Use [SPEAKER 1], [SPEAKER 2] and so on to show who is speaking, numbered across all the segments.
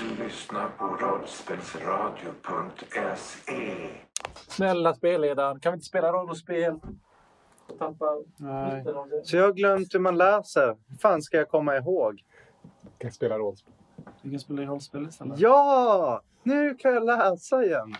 [SPEAKER 1] lyssnar på
[SPEAKER 2] E.
[SPEAKER 1] rollspelsradio.se.
[SPEAKER 3] Snälla spelledaren, kan vi inte spela rollspel? Tappar
[SPEAKER 4] Nej.
[SPEAKER 3] lite av det.
[SPEAKER 4] Så jag har glömt hur man läser. Hur fan ska jag komma ihåg?
[SPEAKER 5] Kan spela rollspel.
[SPEAKER 3] Vi kan spela rollspel istället.
[SPEAKER 4] Ja! Nu kan jag läsa igen.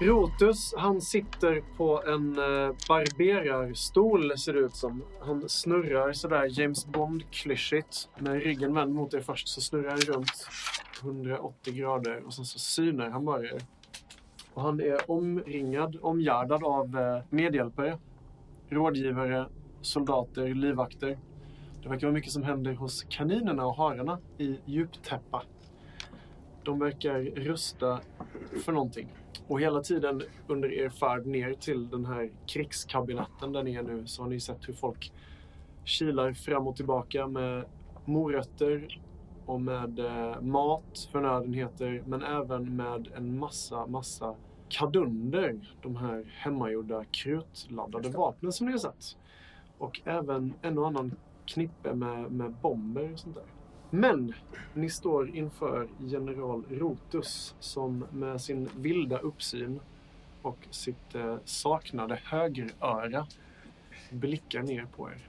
[SPEAKER 6] Rotus, han sitter på en eh, barberarstol ser det ut som. Han snurrar sådär James Bond-klyschigt. Med ryggen vänd mot er först så snurrar han runt 180 grader och sen så synar han bara er. Och han är omringad, omgärdad av eh, medhjälpare, rådgivare, soldater, livvakter. Det verkar vara mycket som händer hos kaninerna och hararna i djuptäppa. De verkar rusta för någonting. Och hela tiden under er färd ner till den här krigskabinetten där ni är nu så har ni sett hur folk kilar fram och tillbaka med morötter och med eh, mat, förnödenheter, men även med en massa, massa kadunder. De här hemmagjorda krutladdade vapnen som ni har sett. Och även en och annan knippe med, med bomber och sånt där. Men ni står inför general Rotus som med sin vilda uppsyn och sitt eh, saknade högeröra blickar ner på er.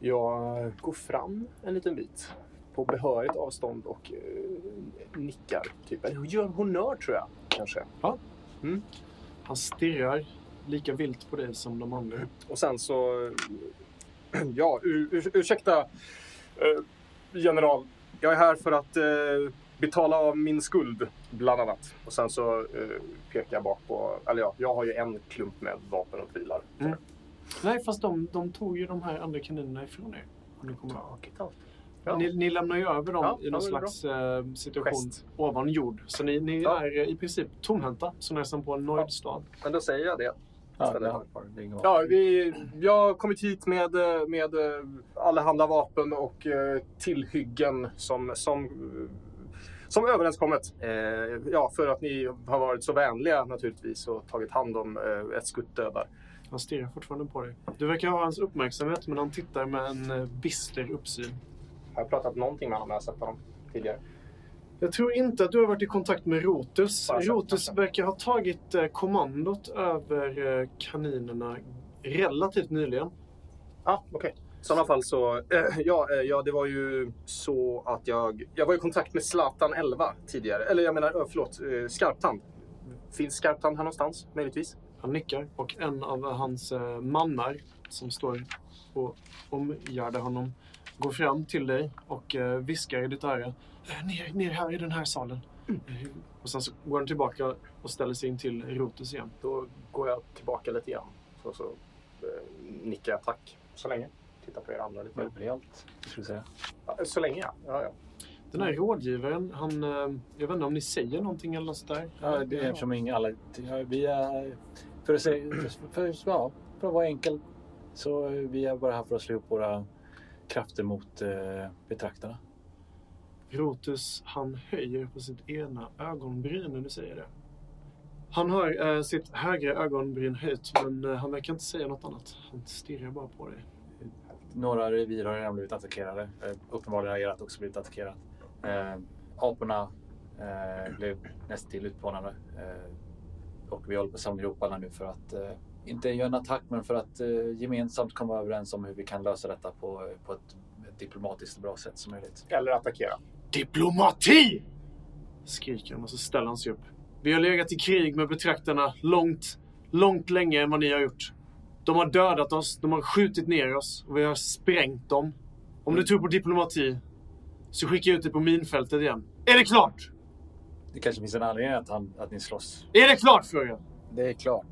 [SPEAKER 5] Jag går fram en liten bit på behörigt avstånd och eh, nickar. Typ. Eller gör honnör tror jag kanske.
[SPEAKER 6] Han stirrar lika vilt på dig som de andra.
[SPEAKER 5] Och sen så... Ja, ur, ur, ursäkta eh, general. Jag är här för att eh, betala av min skuld, bland annat. Och sen så eh, pekar jag bak på... Eller ja, jag har ju en klump med vapen och pilar.
[SPEAKER 6] Mm. Nej, fast de, de tog ju de här andra kaninerna ifrån er. Om ni, kommer ihåg.
[SPEAKER 5] Taket allt. Ja.
[SPEAKER 6] ni, ni lämnar ju över dem
[SPEAKER 5] Ja,
[SPEAKER 6] i
[SPEAKER 5] ja,
[SPEAKER 6] någon
[SPEAKER 5] det är
[SPEAKER 6] slags eh, situation
[SPEAKER 5] Gest.
[SPEAKER 6] ovan jord. Så ni, ni
[SPEAKER 5] Ja.
[SPEAKER 6] är eh, i princip tomhänta, så när som på en nöjd
[SPEAKER 5] Ja.
[SPEAKER 6] stad.
[SPEAKER 5] Men då säger jag det.
[SPEAKER 3] Ja, det har jag. Det är inget
[SPEAKER 5] Ja, vi, jag har kommit hit med, eh, med eh, allehanda vapen och eh, tillhyggen som, som, eh, som överenskommet. Eh, Ja, för att ni har varit så vänliga naturligtvis och tagit hand om eh, ett skutt dödar.
[SPEAKER 6] Han stirrar fortfarande på dig. Du verkar ha hans uppmärksamhet, men han tittar med en eh, bister uppsyn.
[SPEAKER 5] Har jag pratat någonting med honom när jag sett honom tidigare?
[SPEAKER 6] Jag tror inte att du har varit i kontakt med Rotus.
[SPEAKER 5] Bara så.
[SPEAKER 6] Rotus verkar ha tagit eh, kommandot över eh, kaninerna relativt nyligen.
[SPEAKER 5] Ja, ah, okej. I sådana fall så, eh, ja, eh, ja, det var ju så att jag, jag var i kontakt med Zlatan 11 tidigare. Eller jag menar, eh, förlåt, eh, Skarptand. Finns Skarptand här någonstans, möjligtvis?
[SPEAKER 6] Han nickar och en av hans eh, mannar som står och omgärdar honom går fram till dig och eh, viskar i ditt öra. "Eh, Ner, ner här i den här salen. Eh,
[SPEAKER 5] Mm.
[SPEAKER 6] Och sen så går han tillbaka och ställer sig in till Rotus igen.
[SPEAKER 5] Då går jag tillbaka lite grann. Så, så eh, nickar jag tack så länge. Titta på er andra lite.
[SPEAKER 3] Möblerat, skulle jag säga.
[SPEAKER 5] Ja, så länge ja. ja, ja.
[SPEAKER 6] Den här rådgivaren, han... eh, Jag vet inte om ni säger någonting eller något sånt där?
[SPEAKER 3] Ja, det är eftersom inga alla... Ja, vi är... För att, säga, för, ja, för att vara enkel så är vi är bara här för att slå upp våra krafter mot eh, betraktarna.
[SPEAKER 6] Rotus, han höjer på sitt ena ögonbryn när du säger det. Han har eh, sitt högra ögonbryn höjt, men eh, han verkar inte säga något annat. Han stirrar bara på dig.
[SPEAKER 3] Några revir har redan blivit attackerade. Eh, uppenbarligen har ert också blivit attackerat. Eh, aporna eh, blev nästintill utplånade. Eh, och vi håller på att samla ihop alla nu för att eh, inte göra en attack, men för att eh, gemensamt komma överens om hur vi kan lösa detta på, på ett, ett diplomatiskt bra sätt som möjligt.
[SPEAKER 5] Eller attackera.
[SPEAKER 6] Diplomati! Skriker han och så ställer han sig upp. Vi har legat i krig med betraktarna långt, långt längre än vad ni har gjort. De har dödat oss, de har skjutit ner oss och vi har sprängt dem. Om du tror på diplomati så skickar jag ut dig på minfältet igen. Är det klart?
[SPEAKER 3] Det kanske finns en anledning att, han, att ni slåss.
[SPEAKER 6] Är det klart frågar jag?
[SPEAKER 3] Det är klart.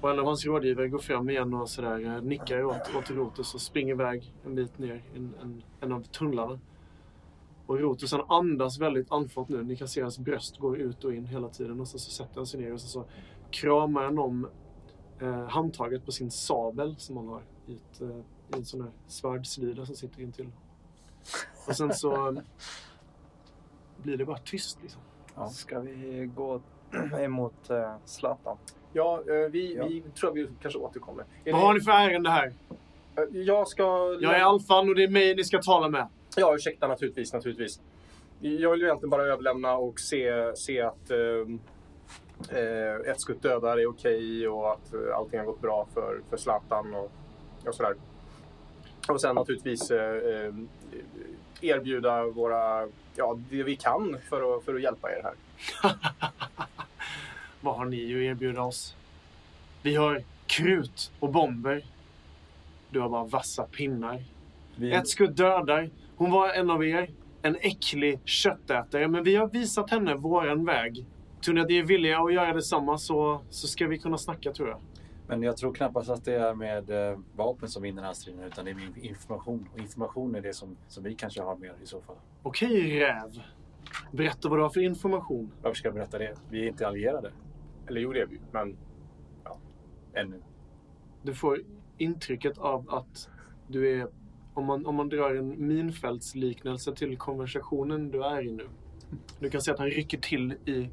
[SPEAKER 6] Och en av hans rådgivare går fram igen och sådär, eh, nickar åt, åt Rotus och springer iväg en bit ner i en, en, en av tunnlarna. Och Rotusen andas väldigt andfådd nu. Ni kan se hans bröst går ut och in hela tiden. Och sen så sätter han sig ner och sen så kramar han om eh, handtaget på sin sabel som han har i, ett, eh, i en sån här svärdslida som sitter intill. Och sen så eh, blir det bara tyst liksom.
[SPEAKER 3] Ja.
[SPEAKER 1] Ska vi gå emot eh, Zlatan?
[SPEAKER 5] Ja, eh, vi,
[SPEAKER 1] Ja.
[SPEAKER 5] vi tror att vi kanske återkommer. Är
[SPEAKER 6] Vad
[SPEAKER 5] det-
[SPEAKER 6] har ni för ärende här?
[SPEAKER 5] Eh, Jag ska...
[SPEAKER 6] Jag är alfan och det är mig ni ska tala med.
[SPEAKER 5] Ja, ursäkta naturligtvis, naturligtvis. Jag vill ju egentligen bara överlämna och se, se att ehm, eh, ett skutt dödar är okej och att eh, allting har gått bra för, för Zlatan och, och sådär. Och sen naturligtvis eh, eh, erbjuda våra, ja, det vi kan för att, för att hjälpa er här.
[SPEAKER 6] Vad har ni att erbjuda oss? Vi har krut och bomber. Du har bara vassa pinnar.
[SPEAKER 3] Vi,
[SPEAKER 6] Ett skutt dödar. Hon var en av er. En äcklig köttätare. Men vi har visat henne våran väg. Tror ni att ni är villiga att göra detsamma så, så ska vi kunna snacka tror jag.
[SPEAKER 3] Men jag tror knappast att det är med eh, vapen som vinner den här striden utan det är med information. Och information är det som, som vi kanske har mer i så fall.
[SPEAKER 6] Okej räv. Berätta vad du har för information.
[SPEAKER 3] Varför ska jag berätta det? Vi är inte allierade
[SPEAKER 5] Eller jo, det är vi ju, men
[SPEAKER 3] ännu.
[SPEAKER 6] Du får intrycket av att du är... Om man, om man drar en minfältsliknelse till konversationen du är i nu. Du kan se att han rycker till i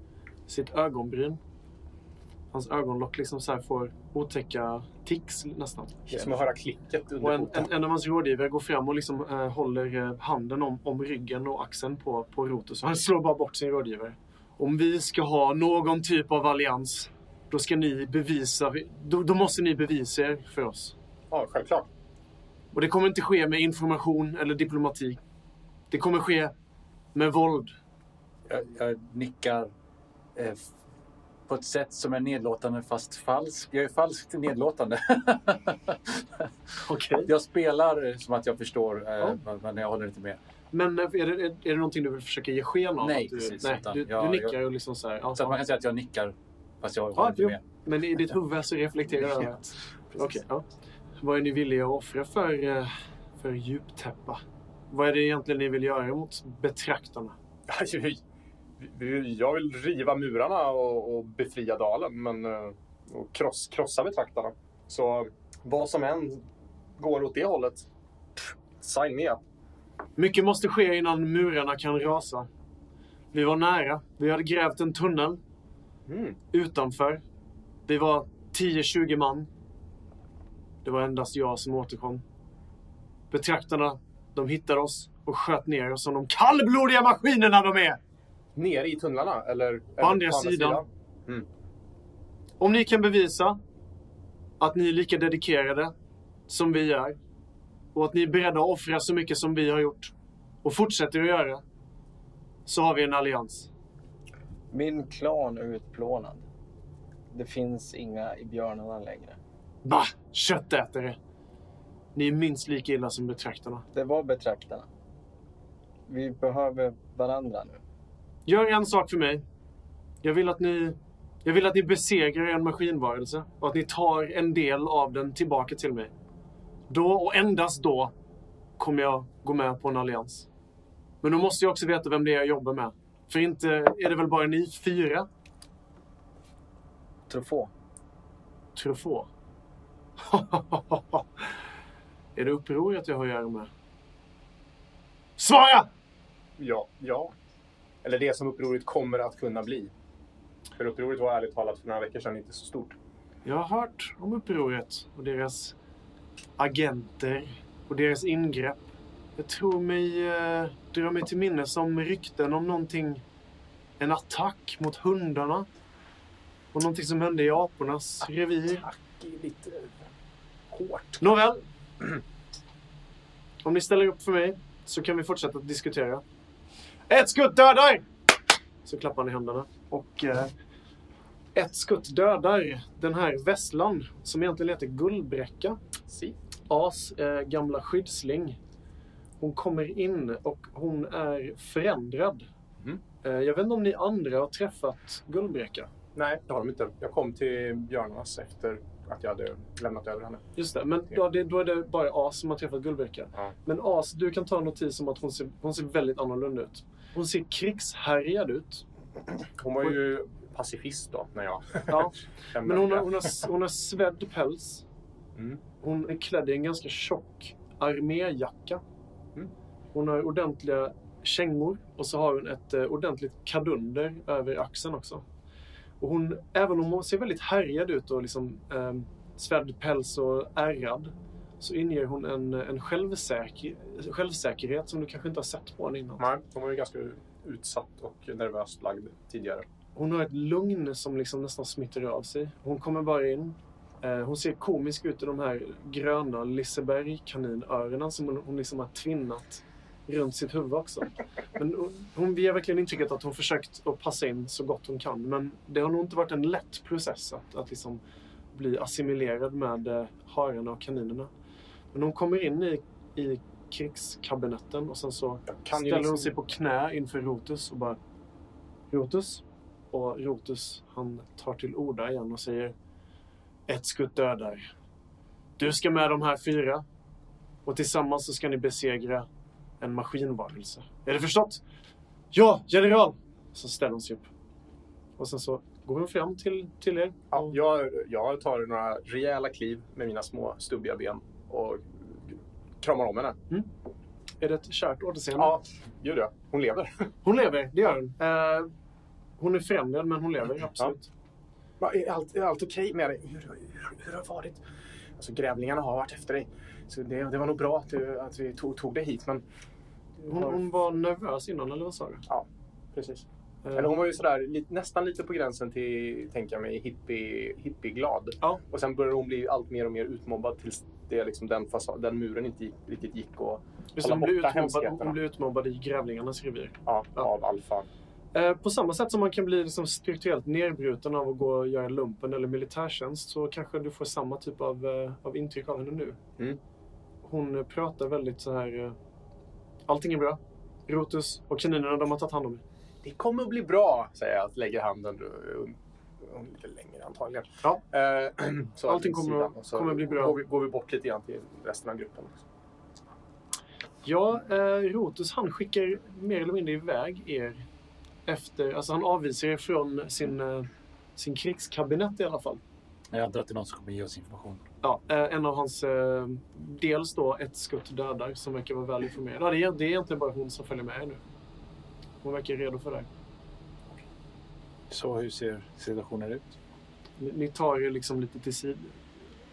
[SPEAKER 6] sitt ögonbryn. Hans ögonlock liksom så här får otäcka tics nästan.
[SPEAKER 5] det är som att höra klicket
[SPEAKER 6] Och
[SPEAKER 5] under
[SPEAKER 6] en,
[SPEAKER 5] foten.
[SPEAKER 6] en, en av hans rådgivare går fram och liksom, eh, håller eh, handen om, om ryggen och axeln på, på Rotus. Han slår bara bort sin rådgivare. Om vi ska ha någon typ av allians, då ska ni bevisa... Då, då måste ni bevisa er för oss.
[SPEAKER 5] Ja, självklart.
[SPEAKER 6] Och det kommer inte ske med information eller diplomati. Det kommer ske med våld.
[SPEAKER 3] Jag, jag nickar eh, f- på ett sätt som är nedlåtande fast falskt. Jag är falskt nedlåtande.
[SPEAKER 6] Okej.
[SPEAKER 3] jag spelar eh, som att jag förstår, eh,
[SPEAKER 6] Ja.
[SPEAKER 3] men- men jag håller inte med.
[SPEAKER 6] Men eh, är det, är, är det någonting du vill försöka ge sken av?
[SPEAKER 3] Nej,
[SPEAKER 6] att du,
[SPEAKER 3] precis,
[SPEAKER 6] nej
[SPEAKER 3] utan
[SPEAKER 6] du,
[SPEAKER 3] jag-
[SPEAKER 6] du nickar och liksom så här. ja,
[SPEAKER 3] Så att man kan säga att jag nickar fast jag håller
[SPEAKER 6] Ja,
[SPEAKER 3] inte
[SPEAKER 6] jo.
[SPEAKER 3] med.
[SPEAKER 6] Men i ditt huvud så reflekterar jag.
[SPEAKER 3] Ja,
[SPEAKER 6] Okej. ja. Vad är ni villiga att offra för, eh, för djuptäppa? Vad är det egentligen ni vill göra mot betraktarna?
[SPEAKER 5] Aj, Jag vill riva murarna och, och befria dalen, men eh, och kross, krossa betraktarna. Så vad som än går åt det hållet, pff, sign me up.
[SPEAKER 6] Mycket måste ske innan murarna kan rasa. Vi var nära. Vi hade grävt en tunnel
[SPEAKER 5] Mm.
[SPEAKER 6] utanför. Vi var 10-20 man. Det var endast jag som återkom. Betraktarna, de hittade oss och sköt ner oss som de kallblodiga maskinerna de är!
[SPEAKER 5] Nere i tunnlarna, eller? eller
[SPEAKER 6] andra sidan. Om ni kan bevisa att ni är lika dedikerade som vi är och att ni är beredda att offra så mycket som vi har gjort och fortsätter att göra så har vi en allians.
[SPEAKER 1] Min klan är utplånad. Det finns inga i björnarna längre.
[SPEAKER 6] Bah! Köttätare! Ni är minst lika illa som betraktarna.
[SPEAKER 1] Det var betraktarna. Vi behöver varandra nu.
[SPEAKER 6] Gör en sak för mig. Jag vill att ni, jag vill att ni besegrar en maskinvarelse och att ni tar en del av den tillbaka till mig. Då och endast då kommer jag gå med på en allians. Men då måste jag också veta vem det är jag jobbar med. För inte är det väl bara ni fyra?
[SPEAKER 1] Truffaut.
[SPEAKER 6] Truffaut. är det upproret jag har att göra med? Svara!
[SPEAKER 5] Ja, ja. Eller det som upproret kommer att kunna bli. För upproret var ärligt talat för några veckor sedan inte så stort.
[SPEAKER 6] Jag har hört om upproret och deras agenter och deras ingrepp. Jag tror mig eh, dra mig till minnes om rykten om någonting. En attack mot hundarna. Och någonting som hände i apornas revir.
[SPEAKER 5] Tack, det är lite hårt.
[SPEAKER 6] Nåväl. Om ni ställer upp för mig så kan vi fortsätta att diskutera. Ett skutt dödar! Så klappar han i händerna. Och eh, ett skutt dödar den här vesslan som egentligen heter Gullbräcka.
[SPEAKER 5] Si.
[SPEAKER 6] As eh, gamla skyddsling. Hon kommer in och hon är förändrad.
[SPEAKER 5] Mhm.
[SPEAKER 6] Eh, jag vet inte om ni andra har träffat Gullbräcka.
[SPEAKER 5] Nej, det har de inte. Jag kom till björnarnas efter att jag hade lämnat över henne.
[SPEAKER 6] Just det, men ja, det, då är det bara As som har träffat Gullbricka.
[SPEAKER 5] Ja.
[SPEAKER 6] Men As, du kan ta notis om att hon ser, hon ser väldigt annorlunda ut. Hon ser krigshärjad ut.
[SPEAKER 5] Hon var ju pacifist då, när jag
[SPEAKER 6] Ja.
[SPEAKER 5] lämnade.
[SPEAKER 6] men hon har, hon har, hon har svedd päls.
[SPEAKER 5] Mm.
[SPEAKER 6] Hon är klädd i en ganska tjock arméjacka.
[SPEAKER 5] Mm.
[SPEAKER 6] Hon har ordentliga kängor och så har hon ett eh, ordentligt kadunder över axeln också. Och hon, även om hon ser väldigt härjad ut och liksom eh, svedd päls och ärrad så inger hon en, en självsäker, självsäkerhet som du kanske inte har sett på henne innan.
[SPEAKER 5] Nej, hon var ju ganska utsatt och nervöst lagd tidigare.
[SPEAKER 6] Hon har ett lugn som liksom nästan smittar av sig. Hon kommer bara in. Eh, Hon ser komisk ut i de här gröna Liseberg-kaninöronen som hon, hon liksom har tvinnat runt sitt huvud också. Men hon- hon ger verkligen intrycket att hon försökt att passa in så gott hon kan. Men det har nog inte varit en lätt process att, att liksom bli assimilerad med eh, hararna och kaninerna. Men hon kommer in i, i krigskabinetten och sen så
[SPEAKER 5] Jag kan ju
[SPEAKER 6] ställer
[SPEAKER 5] liksom-
[SPEAKER 6] hon sig på knä inför Rotus och bara Rotus? Och Rotus han tar till orda igen och säger Ett skutt dödar. Du ska med de här fyra och tillsammans så ska ni besegra en maskinvarelse. Är det förstått? Ja, general! Så ställer hon sig upp. Och sen så går hon fram till, till er.
[SPEAKER 5] Ja, jag, jag tar några rejäla kliv med mina små stubbiga ben och kramar om henne.
[SPEAKER 6] Är det ett kärt återseende?
[SPEAKER 5] Ja, gör det. Hon lever.
[SPEAKER 6] Hon lever, det gör hon. Eh, hon är förändrad men hon lever, absolut.
[SPEAKER 5] Va, Är allt, är allt okej med dig? Hur, hur, hur har det varit? Alltså, grävlingarna har varit efter dig. Så det, det var nog bra att, du, att vi tog, tog dig hit, men...
[SPEAKER 6] Hon, hon var nervös innan, eller vad sa du?
[SPEAKER 5] Precis.
[SPEAKER 6] Eh,
[SPEAKER 5] Eller hon var ju sådär, li, nästan lite på gränsen till, tänker jag mig, hippie, hippieglad.
[SPEAKER 6] Ja.
[SPEAKER 5] Och sen började hon bli allt mer och mer utmobbad tills det, liksom, den, fasa, den muren inte gick, riktigt gick. Och,
[SPEAKER 6] Just, det, hon,
[SPEAKER 5] hålla
[SPEAKER 6] blir
[SPEAKER 5] borta
[SPEAKER 6] utmobbad,
[SPEAKER 5] hemskheterna.
[SPEAKER 6] hon blir utmobbad i grävlingarnas revir.
[SPEAKER 5] ja,
[SPEAKER 6] Ja.
[SPEAKER 5] Av alfan.
[SPEAKER 6] Eh, På samma sätt som man kan bli liksom strukturellt nedbruten av att gå och göra lumpen eller militärtjänst så kanske du får samma typ av, eh, av intryck av henne nu.
[SPEAKER 5] Mm.
[SPEAKER 6] Hon eh, pratar väldigt så här... eh, Allting är bra. Rotus och kaninerna, de har tagit hand om mig.
[SPEAKER 5] Det kommer att bli bra, säger jag. Lägger handen un- un- lite längre antagligen.
[SPEAKER 6] Ja.
[SPEAKER 5] Eh, så
[SPEAKER 6] Allting
[SPEAKER 5] åt
[SPEAKER 6] kommer-
[SPEAKER 5] sidan och så
[SPEAKER 6] kommer bli bra.
[SPEAKER 5] Går vi, går vi bort lite grann till resten av gruppen. Också.
[SPEAKER 6] Ja, eh, Rotus han skickar mer eller mindre iväg er. Efter, alltså han avvisar er från sin, eh, sin krigskabinett i alla fall.
[SPEAKER 3] Jag antar att det är någon som kommer ge oss information.
[SPEAKER 6] Ja, eh, en av hans... Eh, dels då ett skutt dödar som verkar vara väl informerad. Ja, det, är, det är egentligen bara hon som följer med er nu. Hon verkar redo för det. här.
[SPEAKER 3] Så hur ser situationen ut?
[SPEAKER 6] Ni, ni tar er liksom lite till sid,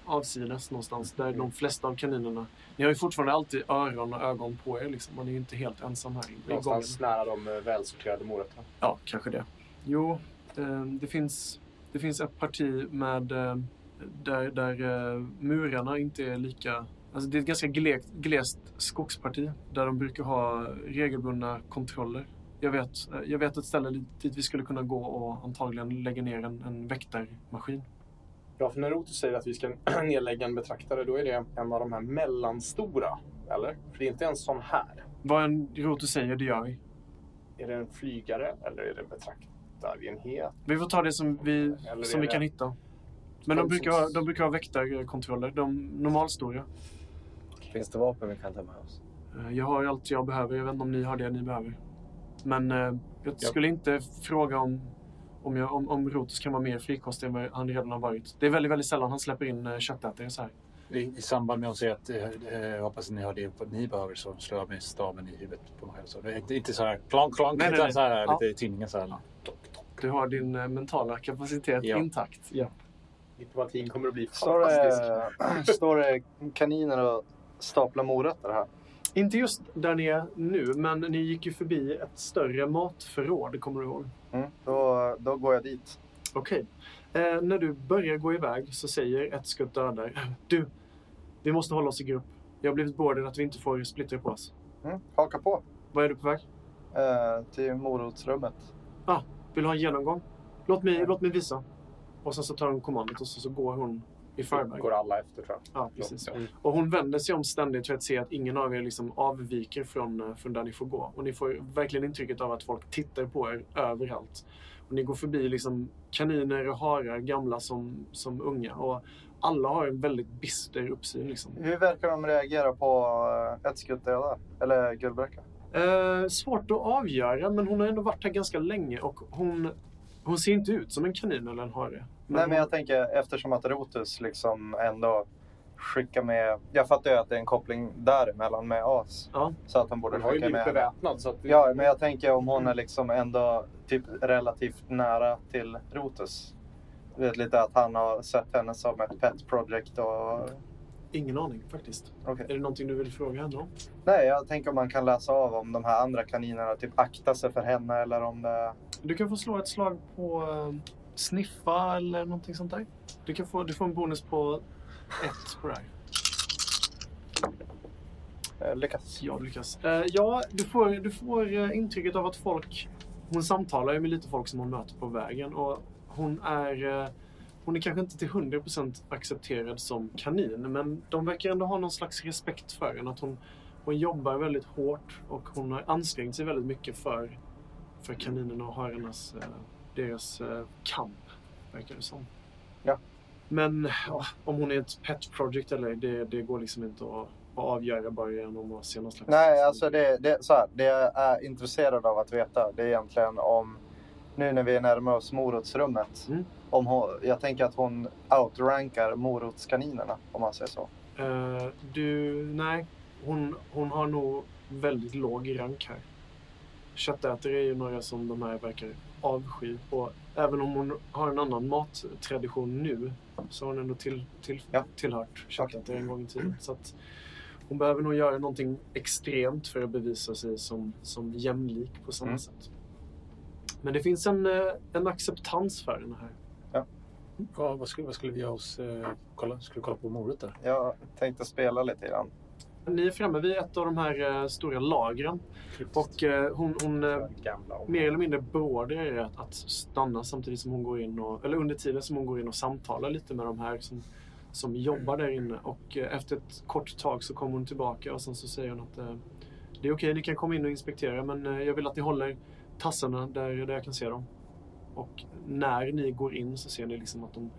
[SPEAKER 6] avsides någonstans där de flesta av kaninerna... Ni har ju fortfarande alltid öron och ögon på er. Liksom. Man är ju inte helt ensam här i- i gången.
[SPEAKER 5] Någonstans nära de eh, välsorterade morötterna.
[SPEAKER 6] Ja, kanske det. Jo, eh, det finns, det finns ett parti med, eh, där, där eh, murarna inte är lika... Alltså det är ett ganska glest, glest skogsparti där de brukar ha regelbundna kontroller. Jag vet, eh, jag vet ett ställe dit dit vi skulle kunna gå och antagligen lägga ner en, en väktarmaskin.
[SPEAKER 5] Ja, för när Rotus säger att vi ska nedlägga en betraktare, då är det en av de här mellanstora. Eller? För det är inte en sån här.
[SPEAKER 6] Vad en Rotus säger, det gör vi.
[SPEAKER 5] Är det en flygare eller är det en beraktarenhet?
[SPEAKER 6] Vi får ta det som vi,
[SPEAKER 5] Eller är
[SPEAKER 6] som vi
[SPEAKER 5] det-
[SPEAKER 6] kan hitta. Men de
[SPEAKER 5] De
[SPEAKER 6] brukar,
[SPEAKER 5] som-
[SPEAKER 6] ha- de brukar ha väktarkontroller, de normalstora.
[SPEAKER 1] Finns det vapen vi kan ta med oss?
[SPEAKER 6] Eh, Jag har ju allt jag behöver. Jag vet inte om ni har det ni behöver. Men eh, jag skulle inte fråga om, om, jag, om, om Rotus kan vara mer frikostig än vad han redan har varit. Det är väldigt, väldigt sällan han släpper in eh, köttätare så här.
[SPEAKER 3] I, i samband med att hon säger att eh, eh, jag hoppas att ni har det vad ni behöver så slår jag med staven i huvudet på mig själv. Så det är inte, inte så här klonk klonk
[SPEAKER 6] Nej, nej,
[SPEAKER 3] utan
[SPEAKER 6] nej.
[SPEAKER 3] så här
[SPEAKER 6] Ja.
[SPEAKER 3] lite i tinningen så här.
[SPEAKER 6] Du har din eh, mentala kapacitet
[SPEAKER 3] Ja.
[SPEAKER 6] intakt. Ja.
[SPEAKER 5] Diplomatin kommer att bli
[SPEAKER 4] Står
[SPEAKER 5] fantastisk.
[SPEAKER 4] det, står det kaniner och staplar morötter här?
[SPEAKER 6] Inte just där ni är nu, men ni gick ju förbi ett större matförråd, kommer du ihåg?
[SPEAKER 4] Mm. Då, då går jag dit.
[SPEAKER 6] Okej. Eh, när du börjar gå iväg så säger ett skutt dödar. Du, vi måste hålla oss i grupp. Jag har blivit beordrad att vi inte får splittra på oss.
[SPEAKER 4] Mm. Haka på
[SPEAKER 6] Vad är du på väg?
[SPEAKER 4] eh, till morotsrummet.
[SPEAKER 6] Vill du ha en genomgång? Låt mig, låt mig visa. Och sen så tar hon kommandot och så, så går hon i förväg.
[SPEAKER 5] går alla efter, tror jag.
[SPEAKER 6] Ja, precis.
[SPEAKER 5] Mm.
[SPEAKER 6] Och hon vänder sig om ständigt för att se att ingen av er liksom avviker från, eh, från där ni får gå. Och ni får verkligen intrycket av att folk tittar på er överallt. Och ni går förbi liksom kaniner och harar, gamla som, som unga. Och alla har en väldigt bister uppsyn. Liksom.
[SPEAKER 4] Hur verkar de reagera på eh, ett skutt döda? Eller guldbräcka?
[SPEAKER 6] Eh, svårt att avgöra, men hon har ändå varit här ganska länge och hon, hon ser inte ut som en kanin eller en hare.
[SPEAKER 4] Nej, men jag tänker eftersom att Rotus liksom ändå skickar med... Jag fattar ju att det är en koppling däremellan med As.
[SPEAKER 6] Ja.
[SPEAKER 4] Så att han borde
[SPEAKER 5] Den har ju
[SPEAKER 4] skicka
[SPEAKER 5] blivit
[SPEAKER 4] med... henne.
[SPEAKER 5] beväpnad så att...
[SPEAKER 4] Ja, men jag tänker om hon är liksom ändå typ relativt nära till Rotus. Du vet lite att han har sett henne som ett pet project och...
[SPEAKER 6] Ingen aning faktiskt.
[SPEAKER 4] Okej.
[SPEAKER 6] Är det någonting du vill fråga henne om?
[SPEAKER 4] Nej, jag tänker om man kan läsa av om de här andra kaninerna typ aktar sig för henne eller om det...
[SPEAKER 6] Du kan få slå ett slag på eh, sniffa eller någonting sånt där. Du, kan få, du får en bonus på ett på det här.
[SPEAKER 4] eh, Lyckas.
[SPEAKER 6] Jag lyckas. Eh, ja, du får, du får eh, intrycket av att folk... Hon samtalar ju med lite folk som hon möter på vägen och hon är... Eh, hon är kanske inte till 100% accepterad som kanin, men de verkar ändå ha någon slags respekt för henne. Att hon, hon jobbar väldigt hårt och hon har ansträngt sig väldigt mycket för, för kaninerna och hararnas, eh, deras eh, kamp, verkar det som.
[SPEAKER 4] Ja.
[SPEAKER 6] Men ja, om hon är ett pet project eller det, det går liksom inte att, att avgöra bara genom att se någon slags...
[SPEAKER 4] Nej, alltså det, det, så här, det jag är intresserad av att veta det är egentligen om nu när vi närmar oss morotsrummet.
[SPEAKER 6] Mm.
[SPEAKER 4] Om hon, jag tänker att hon outrankar morotskaninerna om man säger så.
[SPEAKER 6] Eh, du, nej. Hon, hon har nog väldigt låg rank här. Köttätare är ju några som de här verkar avsky. Och även om hon har en annan mattradition nu så har hon ändå till, till,
[SPEAKER 4] Ja.
[SPEAKER 6] tillhört köttätare en gång i tiden. Så att hon behöver nog göra någonting extremt för att bevisa sig som, som jämlik på samma
[SPEAKER 4] Mm.
[SPEAKER 6] sätt. Men det finns en, eh, en acceptans för den här.
[SPEAKER 3] Ja, vad, skulle, vad skulle vi göra oss? Eh, kolla, skulle vi kolla på morötter?
[SPEAKER 4] Jag tänkte spela lite grann.
[SPEAKER 6] Ni är framme vid ett av de här eh, stora lagren och eh, hon, hon eh,
[SPEAKER 5] Gamla och...
[SPEAKER 6] mer eller mindre beordrar er att, att stanna samtidigt som hon går in och, eller under tiden som hon går in och samtalar lite med de här som, som jobbar där inne. Och eh, efter ett kort tag så kommer hon tillbaka och sen så säger hon att eh, det är okej, ni kan komma in och inspektera men eh, jag vill att ni håller tassarna där, där jag kan se dem. Och när ni går in så ser ni liksom att de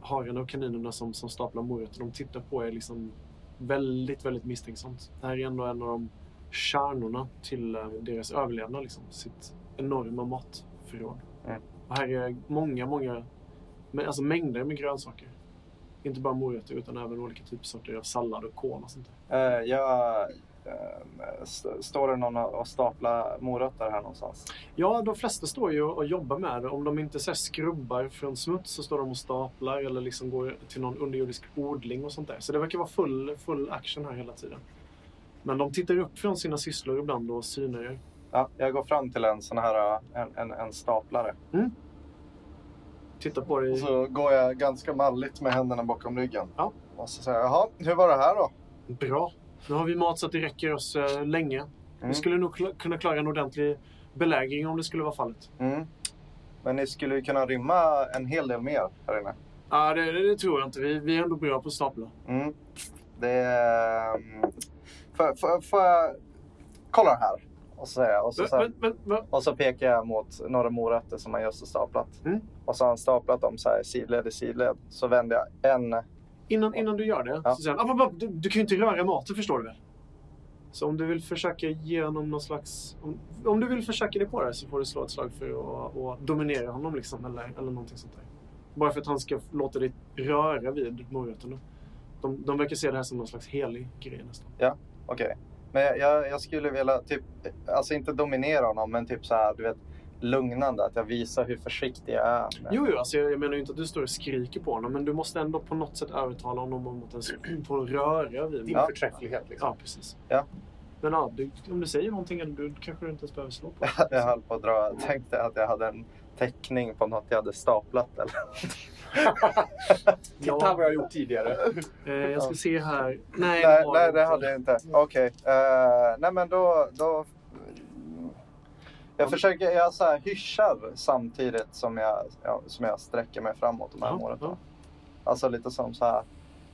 [SPEAKER 6] hararna och kaninerna som, som staplar morötter, de tittar på er liksom väldigt, väldigt misstänksamt. Det här är ändå en av de kärnorna till eh, deras överlevnad. Liksom, sitt enorma matförråd.
[SPEAKER 4] Mm.
[SPEAKER 6] Och här är många, många, men alltså mängder med grönsaker. Inte bara morötter utan även olika typsorter av sallad och kål och sånt där.
[SPEAKER 4] Eh, jag, eh, st- står det någon och staplar morötter här någonstans?
[SPEAKER 6] Ja, de flesta står ju och jobbar med det. Om de inte så här, skrubbar från smuts så står de och staplar eller liksom går till någon underjordisk odling och sånt där. Så det verkar vara full, full action här hela tiden. Men de tittar upp från sina sysslor ibland och synar er.
[SPEAKER 4] Ja, jag går fram till en sån här eh, en, en, en staplare.
[SPEAKER 6] Tittar på dig.
[SPEAKER 4] Och så går jag ganska malligt med händerna bakom ryggen.
[SPEAKER 6] Ja.
[SPEAKER 4] Och så säger jag, jaha, hur var det här då?
[SPEAKER 6] Bra. Nu har vi mat så att det räcker oss eh, länge. Vi
[SPEAKER 4] Mm.
[SPEAKER 6] skulle nog kla- kunna klara en ordentlig belägring om det skulle vara fallet.
[SPEAKER 4] Mm. Men ni skulle ju kunna rymma en hel del mer här inne.
[SPEAKER 6] Ja, det, det, det tror jag inte. Vi, vi är ändå bra på att stapla.
[SPEAKER 4] Mm. Det är... ehm, Får får- får jag kolla det här? Och så, säger jag, och, så,
[SPEAKER 6] Men,
[SPEAKER 4] så här,
[SPEAKER 6] men, men, men,
[SPEAKER 4] och så pekar jag mot några morötter som han just har staplat.
[SPEAKER 6] Mm.
[SPEAKER 4] Och så har han staplat dem så här sidled i sidled. Så vänder jag en...
[SPEAKER 6] innan, innan du gör det
[SPEAKER 4] Ja.
[SPEAKER 6] så säger han, "Ah, men, men, du, du kan ju inte röra maten förstår du väl? Så om du vill försöka ge honom någon slags... Om, om du vill försöka dig på det så får du slå ett slag för att att dominera honom liksom, eller, eller någonting sånt där. Bara för att han ska låta dig röra vid morötterna. De, de verkar se det här som någon slags helig grej nästan.
[SPEAKER 4] Okej. Men jag, jag, jag skulle vilja typ... Alltså inte dominera honom, men typ så här, du vet lugnande. Att jag visar hur försiktig jag är. med-
[SPEAKER 6] Jo, jo alltså jag, jag menar ju inte att du står och skriker på honom, men du måste ändå på något sätt övertala honom om att ens få röra vid
[SPEAKER 5] Din
[SPEAKER 6] mig.
[SPEAKER 5] förträfflighet liksom.
[SPEAKER 6] Ja, precis.
[SPEAKER 4] Ja.
[SPEAKER 6] Men ja, du, om du säger någonting eller du kanske du inte ens behöver slå på det.
[SPEAKER 4] Jag höll på att dra. Jag tänkte att jag hade en teckning på något jag hade staplat. Eller?
[SPEAKER 5] Titta
[SPEAKER 6] Ja.
[SPEAKER 5] vad jag har gjort tidigare.
[SPEAKER 6] Eh, jag ska se här. Nej,
[SPEAKER 4] Nej,
[SPEAKER 6] har
[SPEAKER 4] nej
[SPEAKER 6] du inte.
[SPEAKER 4] det hade jag inte. Okej. Eh, nej, men då... då... Jag försöker, jag så här hyschar samtidigt som jag, ja, som jag sträcker mig framåt de här
[SPEAKER 6] Ja,
[SPEAKER 4] målen.
[SPEAKER 6] ja.
[SPEAKER 4] Alltså lite som så här,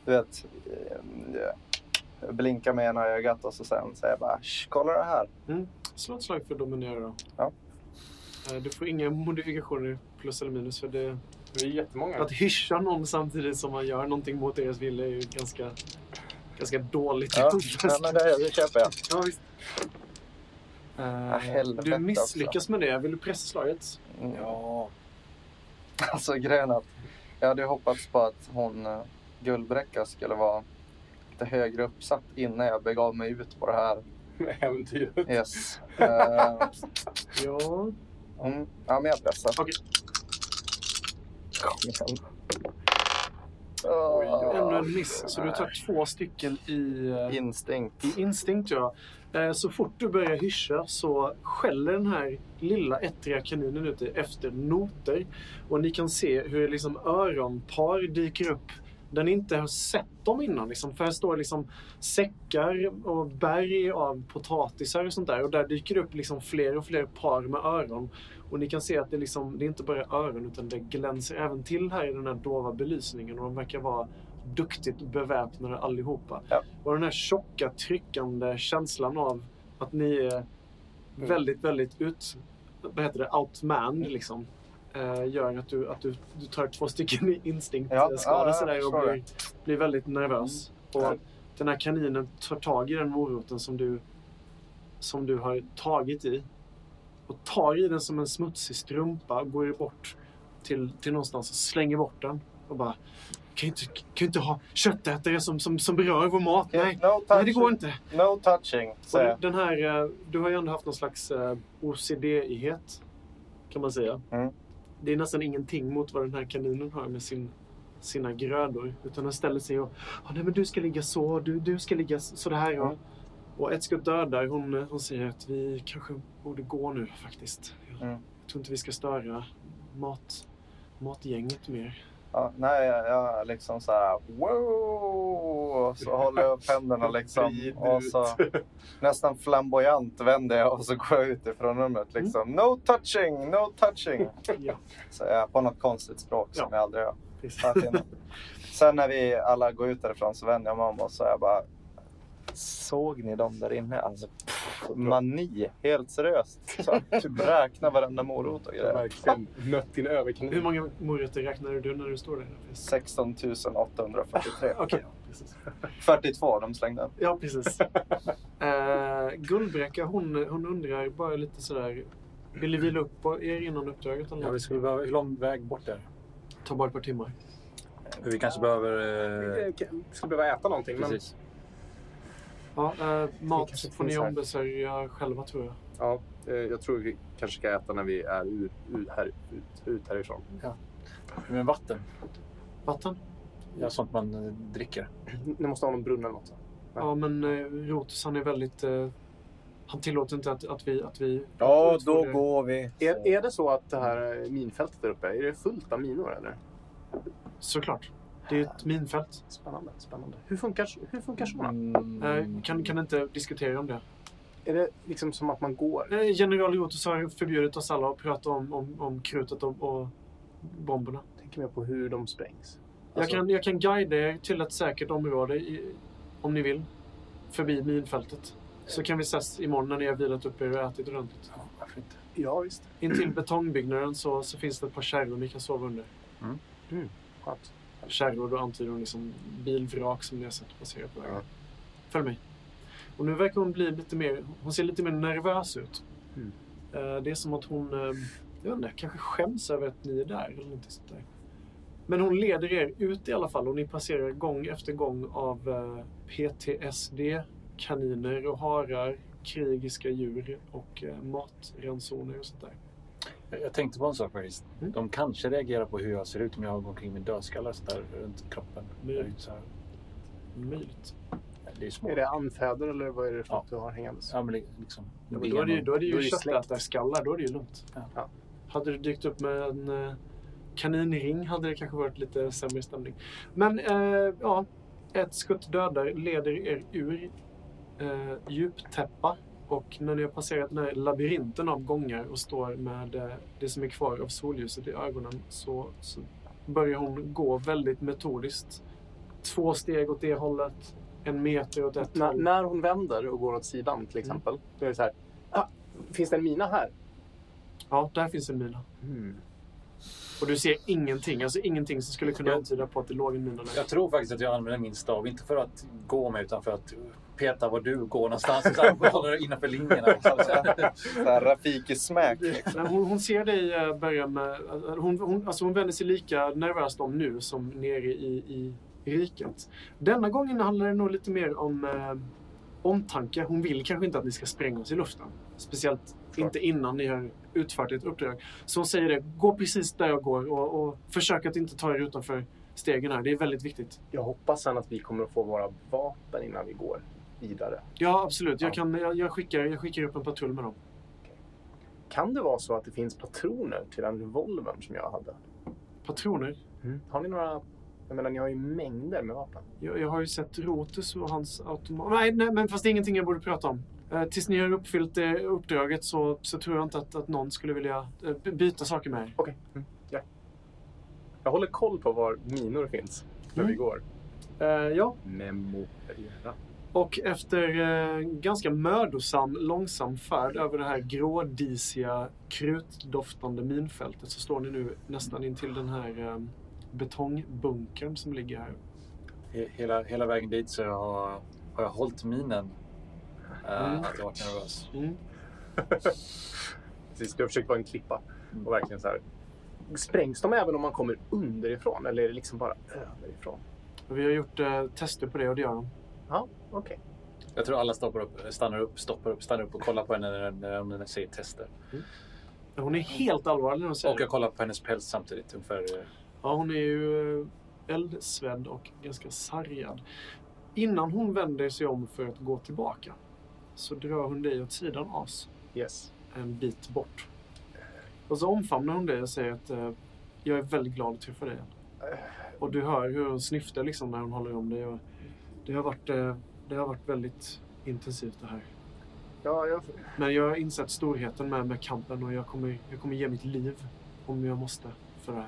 [SPEAKER 4] du vet, eh, blinka med ena ögat och så sen säger jag bara "Sch, kolla det här.
[SPEAKER 6] Slå ett slag för att dominera då.
[SPEAKER 4] Ja.
[SPEAKER 6] Eh, Du får inga modifikationer plus eller minus för det,
[SPEAKER 5] Vi är jättemånga.
[SPEAKER 6] Att hyscha någon samtidigt som man gör någonting mot deras vilja är ju ganska, ganska dåligt.
[SPEAKER 1] Ja, nej, men det, det köper jag.
[SPEAKER 6] Ja, visst. Eh,
[SPEAKER 1] helvete
[SPEAKER 6] du misslyckas med det. Vill du pressa slaget?
[SPEAKER 1] Ja,
[SPEAKER 4] Mm. Alltså grejen är att jag hade ju hoppats på att hon eh, Guldbräcka skulle vara lite högre uppsatt innan jag begav mig ut på det här.
[SPEAKER 5] Med äventyret.
[SPEAKER 4] Yes. Eh,
[SPEAKER 6] Ja.
[SPEAKER 4] mm, ja, men jag pressar.
[SPEAKER 6] Okej.
[SPEAKER 4] Kom igen. Ah,
[SPEAKER 5] Oj, oj,
[SPEAKER 6] Ännu en miss. Så du tar två stycken i, eh,
[SPEAKER 4] Instinkt.
[SPEAKER 6] i instinkt. Ja. Eh, Så fort du börjar hyscha så skäller den här lilla ettriga kaninen ute efter noter. Och ni kan se hur liksom öronpar dyker upp. Den inte har sett dem innan. Liksom. För här står liksom säckar och berg av potatisar och sånt där. Och där dyker det upp liksom fler och fler par med öron. Och ni kan se att det, liksom, det är inte bara öron utan det glänser även till här i den här dova belysningen. Och de verkar vara duktigt beväpnade allihopa.
[SPEAKER 4] Ja.
[SPEAKER 6] Och den här tjocka tryckande känslan av att ni är
[SPEAKER 4] Mm.
[SPEAKER 6] väldigt, väldigt ut... Vad heter det? Outmanned liksom. Eh, gör att du, att du, du tar två stycken i eh,
[SPEAKER 4] Ja,
[SPEAKER 6] instinktskada
[SPEAKER 4] ja, jag
[SPEAKER 6] sådär och
[SPEAKER 4] förstår Mm.
[SPEAKER 6] blir, blir väldigt nervös. Och den här kaninen tar tag i den moroten som du, som du har tagit i och tar i den som en smutsig strumpa och går bort till, till någonstans och slänger bort den och bara kan ju inte, kan ju inte ha köttätare som, som, som berör vår mat. Nej,
[SPEAKER 4] No
[SPEAKER 6] nej det
[SPEAKER 4] touching.
[SPEAKER 6] går inte.
[SPEAKER 4] No touching,
[SPEAKER 6] Och
[SPEAKER 4] säger jag.
[SPEAKER 6] den här, eh, du har ju ändå haft någon slags eh, OCD-ighet kan man säga.
[SPEAKER 4] Mm.
[SPEAKER 6] Det är nästan ingenting mot vad den här kaninen har med sin, sina grödor. Utan den ställer sig och "Ah, nej, men du ska ligga så, du, du ska ligga s- så det här. Och,
[SPEAKER 4] Mm.
[SPEAKER 6] och ett skutt dödar, hon, eh, hon säger att vi kanske borde gå nu faktiskt. Jag
[SPEAKER 4] Mm.
[SPEAKER 6] tror inte vi ska störa mat, matgänget mer.
[SPEAKER 4] Ja, nej, jag, jag liksom så här... Wow! Och Så håller jag upp händerna liksom.
[SPEAKER 5] Vrid
[SPEAKER 4] Och
[SPEAKER 5] ut.
[SPEAKER 4] så nästan flamboyant vänder jag och så går jag ut ifrån rummet.
[SPEAKER 6] Mm.
[SPEAKER 4] Liksom. No touching, no touching.
[SPEAKER 6] Ja,
[SPEAKER 4] Så jag på något konstigt språk som
[SPEAKER 6] Ja.
[SPEAKER 4] jag aldrig hör.
[SPEAKER 6] precis.
[SPEAKER 4] hört innan. Sen när vi alla går ut därifrån så vänder jag mig om och så är jag bara... Såg ni dem där inne? Alltså, pff,
[SPEAKER 6] Mm.
[SPEAKER 4] mani, helt seriöst. Så, typ räkna varenda morot och grejer.
[SPEAKER 5] Verkligen nött din överkanin.
[SPEAKER 6] Hur många morötter räknade du när du står där?
[SPEAKER 4] 16 843.
[SPEAKER 6] Okej, ja, precis.
[SPEAKER 4] 42 de slängde.
[SPEAKER 6] Ja, precis. Eh, Guldbräcka, hon, hon undrar bara lite sådär. Vill ni vila upp på er innan uppdraget? Eller
[SPEAKER 3] Ja, vi
[SPEAKER 6] något?
[SPEAKER 3] skulle behöva, hur lång väg bort är det?
[SPEAKER 6] Ta bara ett par timmar.
[SPEAKER 3] Vi kanske behöver... Eh,
[SPEAKER 5] Vi skulle behöva äta någonting. Men,
[SPEAKER 3] precis.
[SPEAKER 6] Ja, eh, mat
[SPEAKER 5] kanske
[SPEAKER 6] får ni
[SPEAKER 5] finns här.
[SPEAKER 6] ombesörja själva tror jag.
[SPEAKER 5] ja, eh, jag tror vi kanske ska äta när vi är ut, ut, här, ut, ut härifrån.
[SPEAKER 3] Men vatten?
[SPEAKER 6] Vatten?
[SPEAKER 3] Ja, sånt man eh, dricker.
[SPEAKER 5] Ni måste ha någon brunn eller något.
[SPEAKER 6] Ja, men eh, Rotus han är väldigt... Eh, han tillåter inte att, att vi... Att vi
[SPEAKER 1] ja
[SPEAKER 6] utför
[SPEAKER 1] då
[SPEAKER 6] det.
[SPEAKER 1] går vi.
[SPEAKER 5] Är, är det så att det här eh, minfältet där uppe, är det fullt av minor eller?
[SPEAKER 6] Såklart. Det är ju ett minfält.
[SPEAKER 5] Spännande, spännande. Hur funkar, hur funkar sådana?
[SPEAKER 6] Eh,
[SPEAKER 3] Mm.
[SPEAKER 6] kan, kan inte diskutera om det.
[SPEAKER 5] Är det liksom som att man går?
[SPEAKER 6] Eh, General Rotus har förbjudit oss alla att prata om, om, om krutet och, och bomberna.
[SPEAKER 5] Tänker mer på hur de sprängs.
[SPEAKER 6] Jag
[SPEAKER 5] Alltså-
[SPEAKER 6] kan, jag kan guida er till ett säkert område i, om ni vill. Förbi minfältet. Så kan vi ses imorgon när ni har vilat upp er och ätit ordentligt.
[SPEAKER 3] Ja, varför inte?
[SPEAKER 5] Ja, visst.
[SPEAKER 6] Intill betongbyggnaden så, så finns det ett par kärror ni kan sova under.
[SPEAKER 5] Skönt.
[SPEAKER 6] Kärror, då antyder hon liksom bilvrak som ni har sett passera på vägen.
[SPEAKER 5] Ja.
[SPEAKER 6] Följ mig. Och nu verkar hon bli lite mer... Hon ser lite mer nervös ut.
[SPEAKER 5] Mm.
[SPEAKER 6] Eh, Det är som att hon... eh, Jag vet inte, kanske skäms över att ni är där eller någonting sånt där. Men hon leder er ut i alla fall och ni passerar gång efter gång av eh, PTSD, kaniner och harar, krigiska djur och eh, matransoner och sånt där.
[SPEAKER 3] Jag- Jag tänkte på en sak faktiskt.
[SPEAKER 6] Mm.
[SPEAKER 3] De kanske reagerar på hur jag ser ut om jag går omkring med dödskallar och sånt där runt kroppen.
[SPEAKER 6] Mm.
[SPEAKER 3] Jag är inte så här,
[SPEAKER 6] Möjligt.
[SPEAKER 3] det är små.
[SPEAKER 5] Är det anfäder eller vad är det för
[SPEAKER 3] Ja.
[SPEAKER 5] något du har hängandes?
[SPEAKER 3] Ja, men li- liksom.
[SPEAKER 6] Ja, men då är det ju, då är det
[SPEAKER 5] Då
[SPEAKER 6] ju
[SPEAKER 5] är det släkt.
[SPEAKER 6] köttätarskallar, då är det ju lugnt.
[SPEAKER 3] Ja.
[SPEAKER 5] Ja.
[SPEAKER 6] Hade du dykt upp med en eh, kaninring hade det kanske varit lite sämre stämning. Men eh, ja, ett skutt dödar leder er ur eh, djuptäppa och när ni har passerat den här labyrinten av gångar och står med eh, det som är kvar av solljuset i ögonen så, så börjar hon gå väldigt metodiskt. Två steg åt det hållet, en meter åt ett
[SPEAKER 5] När,
[SPEAKER 6] håll.
[SPEAKER 5] när hon vänder och går åt sidan till exempel, då är det så här. Ah, finns det en mina här?
[SPEAKER 6] Ja, där finns en mina. Och du ser ingenting. Alltså ingenting som skulle kunna
[SPEAKER 3] Jag-
[SPEAKER 6] antyda på att det låg en mina där.
[SPEAKER 3] Jag tror faktiskt att jag använder min stav, inte för att gå med utan för att peta var du går någonstans. Så jag håller innanför linjerna. liksom.
[SPEAKER 4] Så här Rafiki-smack.
[SPEAKER 6] Men hon, hon ser dig eh, börja med... Hon, hon, alltså hon vänder sig lika nervöst om nu som nere i, i riket. Denna gången handlar det nog lite mer om eh, omtanke. Hon vill kanske inte att ni ska sprängas i luften. Speciellt inte innan ni har utfört ett uppdrag. Så hon säger det, gå precis där jag går och, och försök att inte ta er utanför stegen här. Det är väldigt viktigt.
[SPEAKER 5] Jag hoppas sen att vi kommer att få våra vapen innan vi går vidare.
[SPEAKER 6] Ja, absolut. Jag,
[SPEAKER 5] Ja.
[SPEAKER 6] kan, jag, jag, skickar, jag skickar upp en patrull med dem.
[SPEAKER 5] Kan det vara så att det finns patroner till den revolvern som jag hade?
[SPEAKER 6] Patroner?
[SPEAKER 5] Har ni några... Jag menar, ni har ju mängder med vapen.
[SPEAKER 6] Jag, jag har ju sett Rotus och hans automat. Nej, nej, men fast det är ingenting jag borde prata om. Eh, tills ni har uppfyllt det uppdraget så, så tror jag inte att, att någon skulle vilja eh, by- byta saker med er.
[SPEAKER 5] Okej. mm, Ja. Jag håller koll på var minor finns när vi
[SPEAKER 6] Mm.
[SPEAKER 5] går.
[SPEAKER 6] Eh, ja,
[SPEAKER 5] Memorera.
[SPEAKER 6] och efter eh, ganska mödosam, långsam färd över det här grådisiga, krutdoftande minfältet så står ni nu nästan intill den här eh, betongbunkern som ligger här.
[SPEAKER 3] He- Hela, hela vägen dit så jag har, har jag hållit minen. Eh,
[SPEAKER 6] Mm.
[SPEAKER 3] Att jag varit nervös.
[SPEAKER 6] Mm.
[SPEAKER 5] Precis, du har försökt vara en klippa. Och verkligen så här. Sprängs de även om man kommer underifrån eller är det liksom bara överifrån?
[SPEAKER 6] Och vi har gjort eh, tester på det och det gör de.
[SPEAKER 5] Ja, okej.
[SPEAKER 3] Jag tror alla stoppar upp, stannar upp, stoppar upp, stannar upp och kollar på henne när, när, när de säger tester.
[SPEAKER 6] Hon är helt allvarlig när hon säger
[SPEAKER 3] Och jag kollar på hennes päls samtidigt. Ungefär, eh,
[SPEAKER 6] Ja, hon är ju eh, eldsvedd och ganska sargad. Innan hon vänder sig om för att gå tillbaka så drar hon dig åt sidan as
[SPEAKER 5] Yes.
[SPEAKER 6] en bit bort. Och så omfamnar hon dig och säger att eh, jag är väldigt glad att träffa dig. Och du hör hur hon snyftar liksom när hon håller om dig. Och det, har varit, eh, det har varit väldigt intensivt det här.
[SPEAKER 5] Ja, jag,
[SPEAKER 6] Men jag har insett storheten med, med kampen och jag kommer, jag kommer ge mitt liv om jag måste för det här.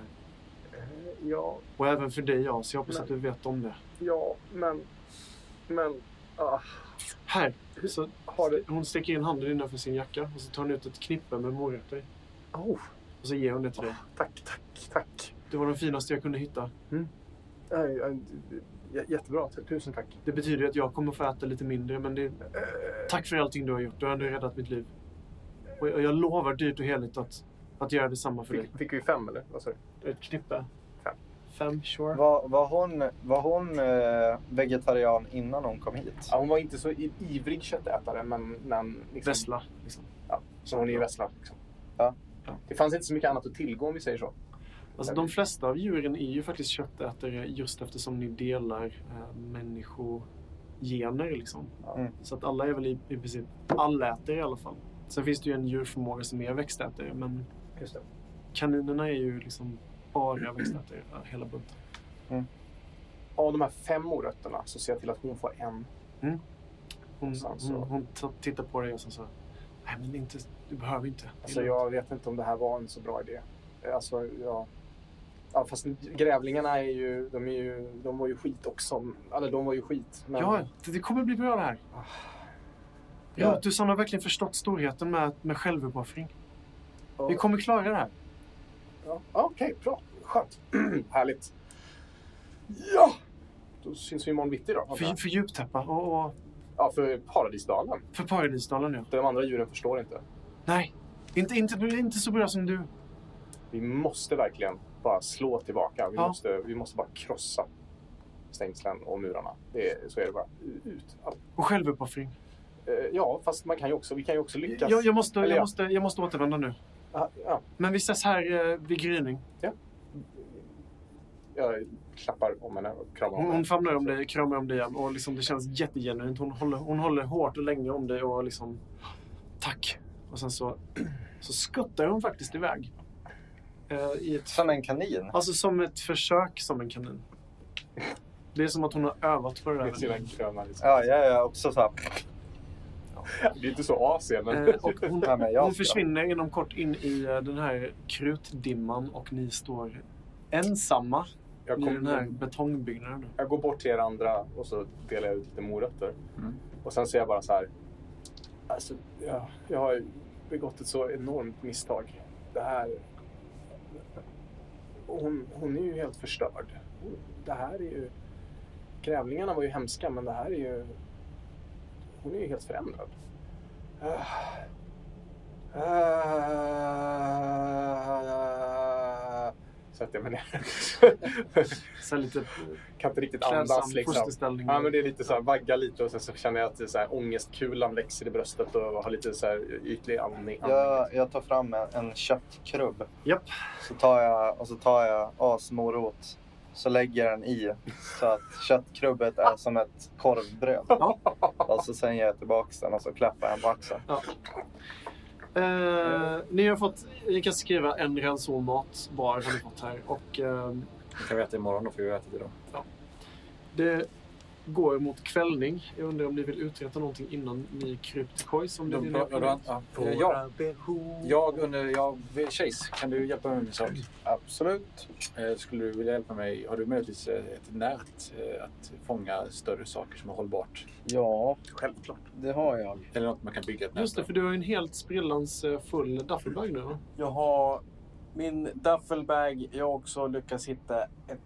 [SPEAKER 5] ja,
[SPEAKER 6] Och även för dig As, jag hoppas att du vet om det.
[SPEAKER 5] ja, men... Men... Ah,
[SPEAKER 6] Här! Så
[SPEAKER 5] har du...
[SPEAKER 6] hon sticker in handen innanför sin jacka och så tar hon ut ett knippe med morötter.
[SPEAKER 5] Oh,
[SPEAKER 6] Och så ger hon det till dig.
[SPEAKER 5] tack, tack, tack.
[SPEAKER 6] Det var de finaste jag kunde hitta.
[SPEAKER 5] Äh, äh, j- Jättebra, t- tusen tack.
[SPEAKER 6] Det betyder ju att jag kommer få äta lite mindre, men det... Tack för allting du har gjort. Du har ändå räddat mitt liv. Och jag, jag lovar dyrt och heligt att, att göra detsamma för dig.
[SPEAKER 5] Fick, fick vi fem eller? Vad sa du?
[SPEAKER 6] Ett knippe?
[SPEAKER 5] Fem.
[SPEAKER 6] Fem, sure.
[SPEAKER 4] Var, var hon, var hon eh, vegetarian innan hon kom hit?
[SPEAKER 5] Ja, hon var inte så i- ivrig köttätare, men... men liksom,
[SPEAKER 6] Vessla. Liksom.
[SPEAKER 5] Ja, så hon är ju vessla. Liksom.
[SPEAKER 4] Ja.
[SPEAKER 5] Det fanns inte så mycket annat att tillgå om vi säger så.
[SPEAKER 6] Alltså, de flesta av djuren är ju faktiskt köttätare just eftersom ni delar eh, människogener. Liksom.
[SPEAKER 4] Mm.
[SPEAKER 6] Så att alla är väl i, i princip allätare i alla fall. Sen finns det ju en djurförmåga som är växtätare, men
[SPEAKER 5] Just det.
[SPEAKER 6] kaninerna är ju liksom bara växtätare eh, hela bunten.
[SPEAKER 5] Av de här fem morötterna så ser jag till att hon får en.
[SPEAKER 6] Hon,
[SPEAKER 5] Sen så-
[SPEAKER 6] hon, hon t- tittar på dig och sen så... Nej, men inte, du behöver inte.
[SPEAKER 5] Alltså jag vet inte om det här var en så bra idé. Alltså, ja. Ja, fast grävlingarna är ju, de, är ju, de var ju skit också. Eller de var ju skit. Men...
[SPEAKER 6] Ja, det, det kommer bli bra det här.
[SPEAKER 5] Ah.
[SPEAKER 6] Ja, du har verkligen förstått storheten med, med självuppoffring.
[SPEAKER 5] Ja.
[SPEAKER 6] Vi kommer klara det här.
[SPEAKER 5] Ja, ja, Okej, bra. Skönt. Härligt. Ja! Då syns vi imorgon bitti då.
[SPEAKER 6] För, för djuptäppa och, och
[SPEAKER 5] Ja, för Paradisdalen.
[SPEAKER 6] för paradisdalen nu.
[SPEAKER 5] De andra djuren förstår inte.
[SPEAKER 6] Nej, inte, inte, inte så bra som du.
[SPEAKER 5] Vi måste verkligen bara slå tillbaka. Vi,
[SPEAKER 6] Ja.
[SPEAKER 5] måste, vi måste bara krossa stängslen och murarna. Det är, så är det bara. Ut. Allt.
[SPEAKER 6] Och självuppoffring.
[SPEAKER 5] Eh, Ja, fast man kan ju också, vi kan ju också lyckas.
[SPEAKER 6] Jag, jag, måste,
[SPEAKER 5] Eller
[SPEAKER 6] jag,
[SPEAKER 5] ja.
[SPEAKER 6] måste, jag måste återvända nu.
[SPEAKER 5] Ah, ja.
[SPEAKER 6] Men vi ses här eh, vid gryning.
[SPEAKER 5] Jag klappar om henne och kramar om
[SPEAKER 6] Hon, hon
[SPEAKER 5] henne.
[SPEAKER 6] famlar om dig, kramar om dig igen. Och liksom, det känns jättegenuint. Hon håller, hon håller hårt och länge om dig och liksom... Tack. Och sen så, så skuttar hon faktiskt iväg. Eh, i ett,
[SPEAKER 4] Som en kanin?
[SPEAKER 6] alltså som ett försök som en kanin. Det är som att hon har övat på det
[SPEAKER 5] Med sina
[SPEAKER 6] där.
[SPEAKER 5] gröna liksom.
[SPEAKER 4] Ja, jag är också så här.
[SPEAKER 5] Det är inte så asien, men...
[SPEAKER 6] Eh, och hon,
[SPEAKER 4] Nej, men jag
[SPEAKER 6] hon
[SPEAKER 4] ska-
[SPEAKER 6] försvinner inom kort in i eh, den här krutdimman och ni står ensamma
[SPEAKER 5] jag,
[SPEAKER 6] i den här
[SPEAKER 5] kommer,
[SPEAKER 6] betongbyggnaden. nu.
[SPEAKER 5] jag går bort till er andra och så delar jag ut lite morötter.
[SPEAKER 3] Mm.
[SPEAKER 5] Och sen säger jag bara så här. Alltså, ja, jag har ju begått ett så enormt misstag. Det här... Och hon, hon är ju helt förstörd. Det här är ju... Grävlingarna var ju hemska, men det här är ju... Hon är ju helt förändrad. Ah. Ah. Sätter jag mig ner.
[SPEAKER 6] Så här lite
[SPEAKER 5] kan inte riktigt
[SPEAKER 6] klädsam
[SPEAKER 5] andas liksom.
[SPEAKER 6] fosterställning.
[SPEAKER 5] Ja, men det är lite så här, vagga lite och sen så känner jag att det är så här, ångestkulan växer i bröstet och har lite så här ytlig andning.
[SPEAKER 4] Jag, jag tar fram en, en köttkrubb.
[SPEAKER 6] Japp.
[SPEAKER 4] Så tar jag, och så tar jag asmorot. Så lägger jag den i så att köttkrubbet är som ett korvbröd.
[SPEAKER 6] Ja.
[SPEAKER 4] Och så sen ger jag tillbaka den och så klappar jag den på axeln.
[SPEAKER 6] Eh, ni har fått, ni kan skriva en ranson mat var har ni fått här och eh,
[SPEAKER 3] Det kan vi äta imorgon, då får vi äta det idag.
[SPEAKER 6] det går mot kvällning. Jag undrar om ni vill uträtta någonting innan ni kryper till kojs? Om det är det ni har planerat.
[SPEAKER 3] Ja, jag, jag undrar, jag, Chase, kan du hjälpa mig med en sak?
[SPEAKER 1] Absolut.
[SPEAKER 3] Eh, Skulle du vilja hjälpa mig? Har du möjligtvis eh, ett nät eh, att fånga större saker som är hållbart?
[SPEAKER 1] Ja,
[SPEAKER 5] Självklart.
[SPEAKER 1] det har jag.
[SPEAKER 3] Eller något man kan bygga ett nät
[SPEAKER 6] Just det,
[SPEAKER 3] av?
[SPEAKER 6] för du har ju en helt sprillans eh, full duffelbag nu va?
[SPEAKER 1] Jag har min duffelbag. Jag har också lyckats hitta ett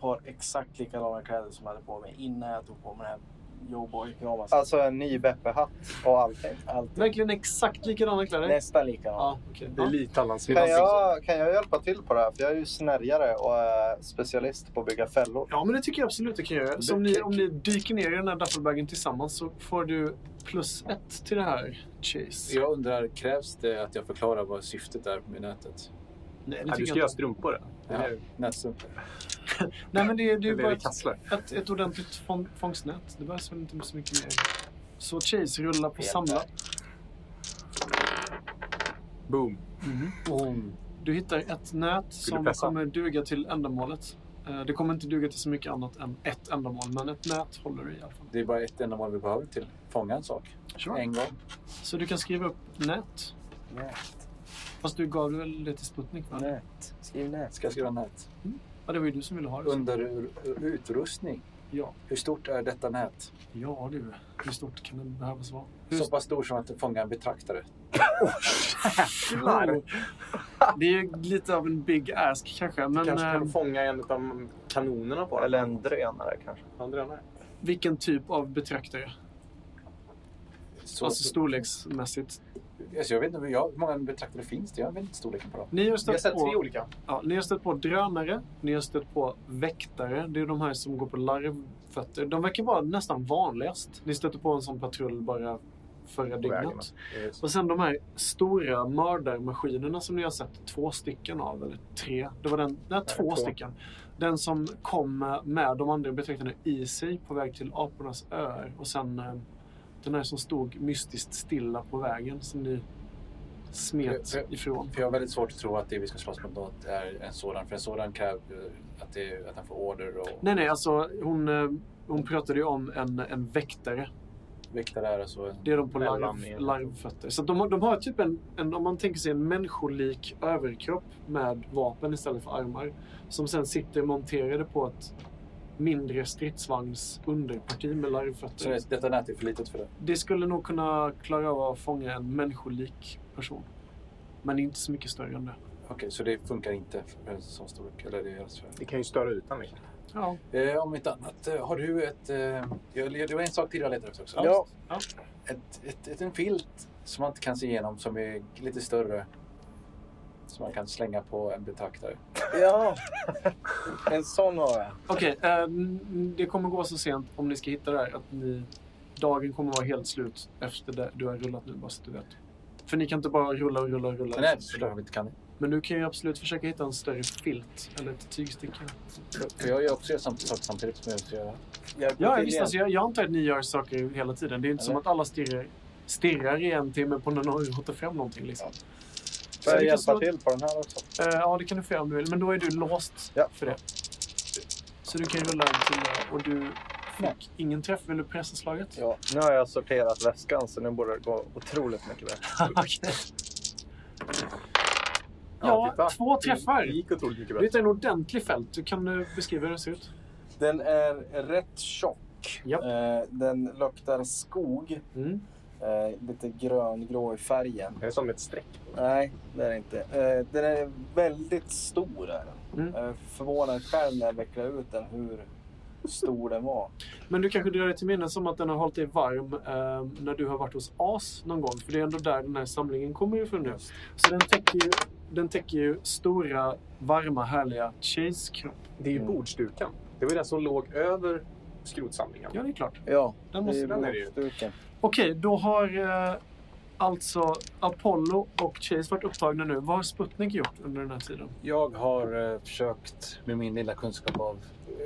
[SPEAKER 1] par exakt likadana kläder som jag hade på mig innan jag tog på mig den här Joeboy-pyjamasen.
[SPEAKER 4] Alltså en ny Beppe-hatt och allting.
[SPEAKER 1] Alltid.
[SPEAKER 6] Verkligen exakt likadana kläder?
[SPEAKER 1] Nästan likadana.
[SPEAKER 6] Ja, okej.
[SPEAKER 5] Det är lite Allans
[SPEAKER 4] Kan jag, kan jag hjälpa till på det här? För jag är ju snärjare och är specialist på att bygga fällor.
[SPEAKER 6] Ja, men det tycker jag absolut du kan göra. Så om ni, om ni dyker ner i den här duffelbagen tillsammans så får du plus ett till det här, Chase.
[SPEAKER 3] Jag undrar, krävs det att jag förklarar vad syftet är med nätet? Eh,
[SPEAKER 6] Nej, det
[SPEAKER 5] Ja,
[SPEAKER 6] tycker
[SPEAKER 5] du ska
[SPEAKER 6] jag
[SPEAKER 5] göra
[SPEAKER 6] inte.
[SPEAKER 5] strumpor.
[SPEAKER 3] Ja,
[SPEAKER 5] Eller hur?
[SPEAKER 3] nätsumpar.
[SPEAKER 6] Nej, men det, är- det är ju
[SPEAKER 5] Eller
[SPEAKER 6] bara
[SPEAKER 5] är det
[SPEAKER 6] ett,
[SPEAKER 5] kassler?
[SPEAKER 6] ett, ett ordentligt fång, fångstnät. Det behövs väl inte så mycket mer. Så Chase, rulla på samla.
[SPEAKER 5] Boom.
[SPEAKER 6] Mhm. Du hittar ett nät
[SPEAKER 5] Skulle
[SPEAKER 6] som
[SPEAKER 5] pressa.
[SPEAKER 6] kommer duga till ändamålet. Eh, Det kommer inte duga till så mycket annat än ett ändamål, men ett nät håller i alla fall.
[SPEAKER 3] Det är bara ett ändamål vi behöver till. Fånga en sak. En gång.
[SPEAKER 6] Så du kan skriva upp nät.
[SPEAKER 1] Nät.
[SPEAKER 6] Fast du gav väl det till Sputnik? Va?
[SPEAKER 1] Nät. Skriv nät.
[SPEAKER 3] Ska jag skriva nät?
[SPEAKER 6] Ja, det var ju du som ville ha det. så.
[SPEAKER 3] Under ur- utrustning.
[SPEAKER 6] Ja.
[SPEAKER 3] Hur stort är detta nät?
[SPEAKER 6] ja, du. Hur stort kan det behövas vara? Hur
[SPEAKER 3] Så pass stor som att det fångar en betraktare.
[SPEAKER 6] stor? Det är ju lite av en big ask kanske, men
[SPEAKER 5] Kanske kan
[SPEAKER 6] eh,
[SPEAKER 5] du fånga en av kanonerna på den.
[SPEAKER 4] Eller en drönare kanske.
[SPEAKER 5] Han drönare.
[SPEAKER 6] vilken typ av betraktare?
[SPEAKER 3] Så,
[SPEAKER 6] alltså storleksmässigt.
[SPEAKER 3] Alltså, jag vet inte hur, jag, hur många betraktare finns det? Jag vet inte storleken på dem.
[SPEAKER 6] Ni har
[SPEAKER 5] Vi har
[SPEAKER 6] stött
[SPEAKER 5] sett
[SPEAKER 6] på...
[SPEAKER 5] tre olika.
[SPEAKER 6] Ja, ni har stött på drönare, ni har stött på väktare. Det är de här som går på larvfötter. De verkar vara nästan vanligast. Ni stötte på en sån patrull bara förra
[SPEAKER 5] vägarna.
[SPEAKER 6] dygnet. Och sen de här stora mördarmaskinerna som ni har sett två stycken av, eller tre. Det var den, nej, två,
[SPEAKER 5] två.
[SPEAKER 6] stycken. Den som kom med de andra betraktarna i sig på väg till apornas öar. Och sen eh, den här som stod mystiskt stilla på vägen som ni smet
[SPEAKER 3] För- för-
[SPEAKER 6] ifrån.
[SPEAKER 3] För jag har väldigt svårt att tro att det vi ska slåss mot något är en sådan. För en sådan kräver ju att, det, att den får order och
[SPEAKER 6] Nej, nej, alltså hon, eh, hon pratade ju om en, en väktare.
[SPEAKER 3] väktare är alltså en...
[SPEAKER 6] Det är de på
[SPEAKER 5] Mellan
[SPEAKER 6] larv,
[SPEAKER 5] er.
[SPEAKER 3] liksom.
[SPEAKER 6] larvfötter. Så att de, har- de har typ en, en, om man tänker sig en människolik överkropp med vapen istället för armar. Som sen sitter monterade på ett mindre stridsvagns underparti med
[SPEAKER 3] Så
[SPEAKER 6] larvfötter.
[SPEAKER 3] det, detta nät är för litet för det.
[SPEAKER 6] Det skulle nog kunna klara av att fånga en människolik person. Men inte så mycket större än det.
[SPEAKER 3] Okej, så det funkar inte för en sån storlek? Eller det är alltså för...
[SPEAKER 5] Det kan ju störa ut den.
[SPEAKER 6] Ja.
[SPEAKER 3] Eh, om inte annat, eh, har du ett... Eh, jag, det var en sak till jag letade efter också.
[SPEAKER 1] Ja.
[SPEAKER 6] Ja.
[SPEAKER 3] Ett, ett, ett, en filt som man inte kan se igenom, som är lite större. Som man kan slänga på en betraktare.
[SPEAKER 1] Ja. En sån har jag.
[SPEAKER 6] Okej, eh, n- det kommer gå så sent om ni ska hitta det här att ni... Dagen kommer vara helt slut efter det du har rullat nu, bara så att du vet. För ni kan inte bara rulla och rulla och rulla.
[SPEAKER 3] Men nej, såklart vi inte kan.
[SPEAKER 6] Men du kan ju absolut försöka hitta en större filt eller ett tygstycke.
[SPEAKER 3] För- För jag gör också samt, saker samtidigt som jag måste göra.
[SPEAKER 1] Hjälper
[SPEAKER 6] Ja,
[SPEAKER 1] till
[SPEAKER 6] visst.
[SPEAKER 1] igen.
[SPEAKER 6] Alltså, jag, jag antar att ni gör saker hela tiden. Det är inte som
[SPEAKER 1] Eller?
[SPEAKER 6] att alla stirrar, stirrar i en timme på när någon rotar fram någonting. Liksom.
[SPEAKER 4] Får jag
[SPEAKER 6] vi kan
[SPEAKER 4] hjälpa
[SPEAKER 6] slå-
[SPEAKER 4] till på den här också?
[SPEAKER 6] Eh, ja, det kan du få göra om du vill. Men då är du låst
[SPEAKER 4] Ja.
[SPEAKER 6] för det. Så du kan rulla en till och du fick ingen träff. Vill du pressa slaget?
[SPEAKER 4] Ja. Nu har jag sorterat väskan så nu borde det gå otroligt mycket bättre.
[SPEAKER 6] Okej. Ja,
[SPEAKER 5] titta.
[SPEAKER 6] två träffar.
[SPEAKER 5] Det gick otroligt mycket bättre.
[SPEAKER 6] Det är en ordentlig fält. Du kan eh, beskriva hur det ser ut.
[SPEAKER 1] Den är rätt tjock.
[SPEAKER 6] Japp.
[SPEAKER 1] Eh, Den luktar skog.
[SPEAKER 6] Mm.
[SPEAKER 1] Eh, lite gröngrå i färgen.
[SPEAKER 5] Det är som ett streck.
[SPEAKER 1] Nej, det är det inte. Eh, den är väldigt stor. Är den.
[SPEAKER 6] Mm.
[SPEAKER 1] Jag är förvånad själv när jag vecklade ut den hur stor den var.
[SPEAKER 6] Men du kanske drar dig till minnes om att den har hållit dig varm eh, när du har varit hos As någon gång. För det är ändå där den här samlingen kommer ifrån nu. Så den täcker ju, den täcker ju stora, varma, härliga Cheys kropp.
[SPEAKER 5] Det är ju
[SPEAKER 1] Mm.
[SPEAKER 5] bordsdukan. Det var ju den som låg över skrotsamlingen.
[SPEAKER 6] Ja, det är klart.
[SPEAKER 1] Ja,
[SPEAKER 6] Den måste
[SPEAKER 1] det
[SPEAKER 5] den är
[SPEAKER 1] är
[SPEAKER 5] det ju.
[SPEAKER 1] ju bordsduken.
[SPEAKER 6] Okej, då har eh, alltså Apollo och Chase varit upptagna nu. Vad har Sputnik gjort under den här tiden?
[SPEAKER 3] Jag har eh, försökt med min lilla kunskap av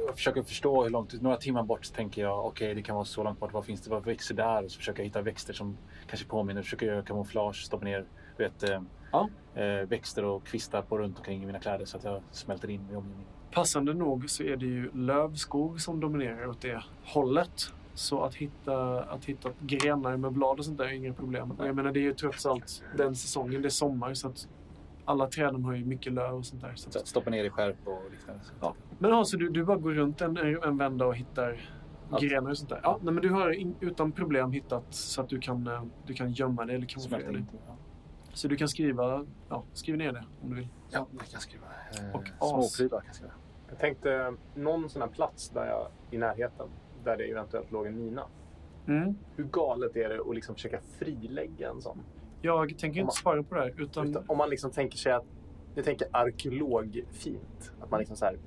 [SPEAKER 3] jag försöker förstå hur långt, några timmar bort tänker jag okej det kan vara så långt bort, vad finns det, vad växer där? Och så försöker jag hitta växter som kanske påminner, försöker göra kamouflage, stoppa ner du vet, eh,
[SPEAKER 6] Ja.
[SPEAKER 3] eh, växter och kvistar på runt omkring i mina kläder så att jag smälter in i omgivningen.
[SPEAKER 6] Passande nog så är det ju lövskog som dominerar åt det hållet. Så att hitta, att hitta grenar med blad och sånt där är inga problem. Och Jag menar, det är ju trots allt den säsongen, det är sommar så att alla träden har ju mycket löv och sånt där. Så
[SPEAKER 3] Så
[SPEAKER 6] att,
[SPEAKER 3] att stoppa ner i skärp och liknande. Så.
[SPEAKER 6] ja. Men alltså, du, du bara går runt en, en vända och hittar
[SPEAKER 3] Allt.
[SPEAKER 6] grenar och sånt där. Ja, nej, men du har in, utan problem hittat så att du kan, eh, du kan gömma dig eller kamouflera
[SPEAKER 3] Smälter
[SPEAKER 6] dig.
[SPEAKER 3] in. Ja.
[SPEAKER 6] Så du kan skriva, ja, skriv ner det om du vill.
[SPEAKER 3] Ja, jag kan skriva. Eh,
[SPEAKER 6] Och as.
[SPEAKER 3] Småprylar kan jag skriva.
[SPEAKER 5] Jag tänkte någon sån här plats där jag, i närheten där det eventuellt låg en mina. Hur galet är det att liksom försöka frilägga en sån?
[SPEAKER 6] Jag tänker
[SPEAKER 5] Om man-
[SPEAKER 6] inte svara på det här utan...
[SPEAKER 5] Utan om man liksom tänker sig att, jag tänker arkeologfint. Att man liksom så här